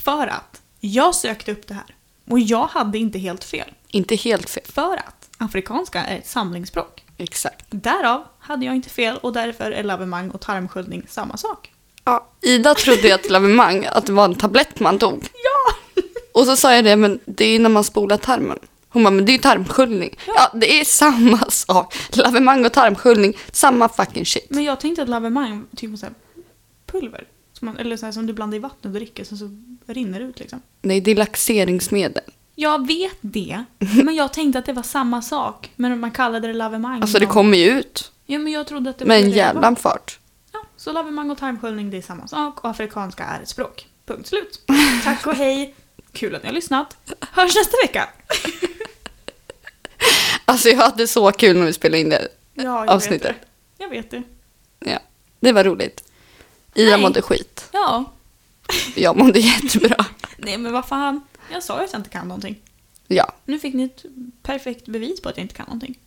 B: För att jag sökte upp det här och jag hade inte helt fel.
A: Inte helt fel.
B: För att afrikanska är ett samlingsspråk.
A: Exakt.
B: Därav hade jag inte fel och därför är lavemang och tarmsköljning samma sak.
A: Ja, Ida trodde ju att lavemang, att det var en tablett man tog.
B: Ja!
A: Och så sa jag det, men det är ju när man spolar tarmen. Hon bara, men det är ju tarmsköljning. Ja, det är samma sak. Lavemang och tarmsköljning, samma fucking shit.
B: Men jag tänkte att lavemang typ var så här pulver. Som man, eller så här, som du blandar i vatten och dricker så, så rinner det ut liksom.
A: Nej, det är laxeringsmedel.
B: Jag vet det, men jag tänkte att det var samma sak. Men man kallade det lavemang.
A: Alltså det kommer ju ut
B: Ja, men jag trodde att det var
A: med en
B: det det var.
A: jävla fart.
B: Ja, så lavemang och tarmsköljning det är samma sak och afrikanska är ett språk. Punkt slut. Tack och hej. Kul att ni har lyssnat. Hörs nästa vecka.
A: Alltså jag hade så kul när vi spelade in det.
B: Ja, jag vet
A: avsnittet.
B: det. Jag vet det.
A: Ja. Det var roligt. Ia
B: Nej.
A: mådde skit.
B: Ja.
A: Jag mådde jättebra.
B: Nej men vad fan. Jag sa ju att jag inte kan någonting.
A: Ja,
B: Nu fick ni ett perfekt bevis på att jag inte kan någonting.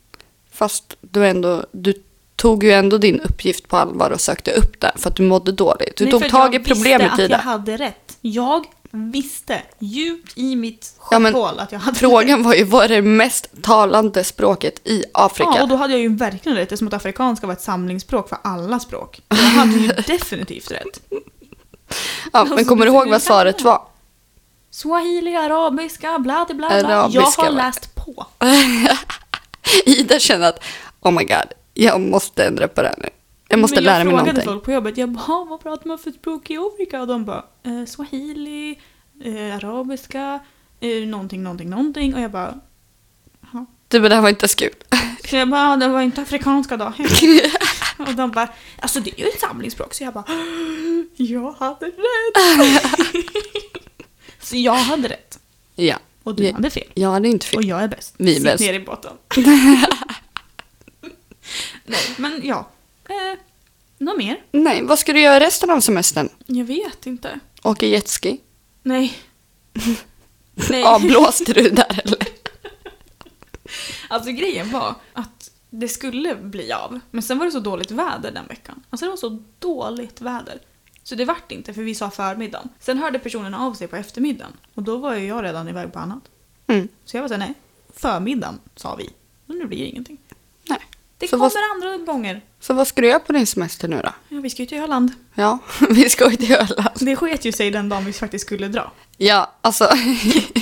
A: fast du, ändå, du tog ju ändå din uppgift på allvar och sökte upp den för att du mådde dåligt. Du
B: Nej, för
A: tog
B: att
A: tag i
B: jag visste
A: problemet,
B: att jag
A: Ida.
B: hade rätt. Jag visste djupt i mitt
A: Ja, men
B: skithål att jag hade rätt.
A: Frågan var ju vad är det mest talande språket i Afrika?
B: Ja, och då hade jag ju verkligen rätt eftersom att afrikanska var ett samlingsspråk för alla språk. Jag hade ju definitivt rätt.
A: Ja, men
B: Alltså,
A: kommer du
B: det
A: ihåg
B: skulle
A: vad
B: jag
A: svaret
B: säga.
A: var?
B: Swahili, arabiska, bla bla bla. bla. Jag
A: Arabiska,
B: har
A: va?
B: läst på.
A: Ida känner att oh my god, jag måste ändra på det här nu. Jag måste
B: Men
A: lära mig
B: Jag
A: någonting.
B: frågade folk på jobbet, jag bara, vad pratar man för språk i Afrika? Och de bara, eh, swahili, eh, arabiska, eh, någonting, någonting, någonting. Och jag bara, "Jaha."
A: Du bara, det här var inte så kul.
B: så jag bara, det var inte afrikanska då. och de bara, alltså det är ju ett samlingsspråk. Så jag bara, jag hade rätt. så jag hade rätt.
A: ja,
B: Och du
A: Ja.
B: hade fel.
A: jag hade inte
B: Och
A: fel.
B: jag är bäst.
A: Typ. Vi är
B: Sitt
A: bäst.
B: ner i båten. Nej, men ja. Eh, Något mer?
A: Nej, vad ska du göra resten av semestern?
B: Jag vet inte.
A: Åka jetski?
B: Nej. Nej.
A: Avblåste du där eller?
B: Alltså grejen var att det skulle bli av. Men sen var det så dåligt väder den veckan. Alltså det var så dåligt väder. Så det vart inte för vi sa förmiddagen. Sen hörde personen av sig på eftermiddagen. Och då var ju jag redan iväg på annat.
A: Mm.
B: Så jag var såhär, nej. Förmiddagen sa vi. Men nu blir det ingenting.
A: Nej.
B: Det
A: Så
B: kommer
A: vad-
B: andra gånger.
A: Så vad ska du göra på din semester nu då?
B: Ja, vi ska ju till Öland.
A: Ja, vi ska ju till Öland.
B: Alltså, Det sket ju sig den dagen vi faktiskt skulle dra.
A: Ja, alltså.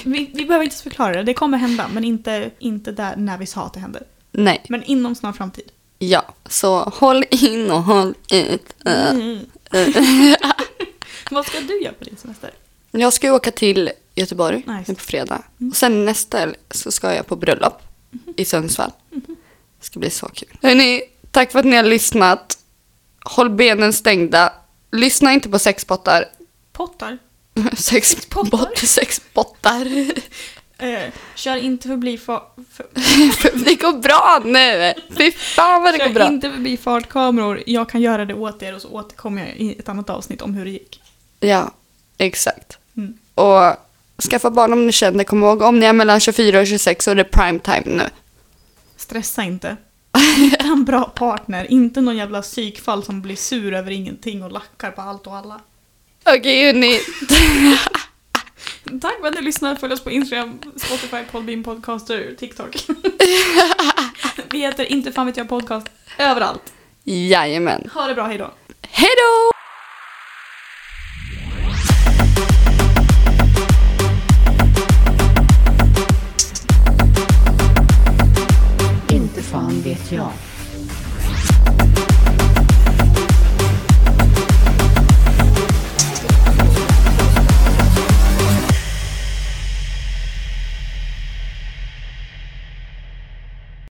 B: Vi, vi behöver inte förklara det, det kommer hända. Men inte, inte där när vi sa att det händer.
A: Nej,
B: Men inom snar framtid.
A: ja. Så håll in och håll ut. Eh,
B: Mm. Vad ska du göra på din semester?
A: Jag ska ju åka till Göteborg
B: Nice. Mm.
A: nu på fredag. Och sen nästa helg så ska jag på bröllop
B: Mhm.
A: i Sundsvall. Det ska bli så kul. Hörrni, tack för att ni har lyssnat. Håll benen stängda. Lyssna inte på sexbottar.
B: Pottar?
A: Sex
B: Sexbottar?
A: bott- Sexbottar.
B: Eh, kör inte förbi fa- för,
A: det går bra nu! Fy fan vad det går
B: kör
A: bra.
B: inte förbi fartkameror. Jag kan göra det åt er och så återkommer jag i ett annat avsnitt om hur det gick.
A: Ja, exakt.
B: Mm.
A: Och skaffa barn om ni känner. Kom ihåg, om ni är mellan 24 och 26 så är det prime time nu.
B: Stressa inte. Hitta en bra partner, inte någon jävla psykfall som blir sur över ingenting och lackar på allt och alla.
A: Okej, hörni.
B: Tack för att ni lyssnar. Följ oss på Instagram, Spotify, Podbean, Podcaster, TikTok. Vi heter Inte fan vet jag podcast överallt.
A: Jajamän.
B: Ha det bra, hejdå.
A: Hej då!
C: Inte fan vet jag.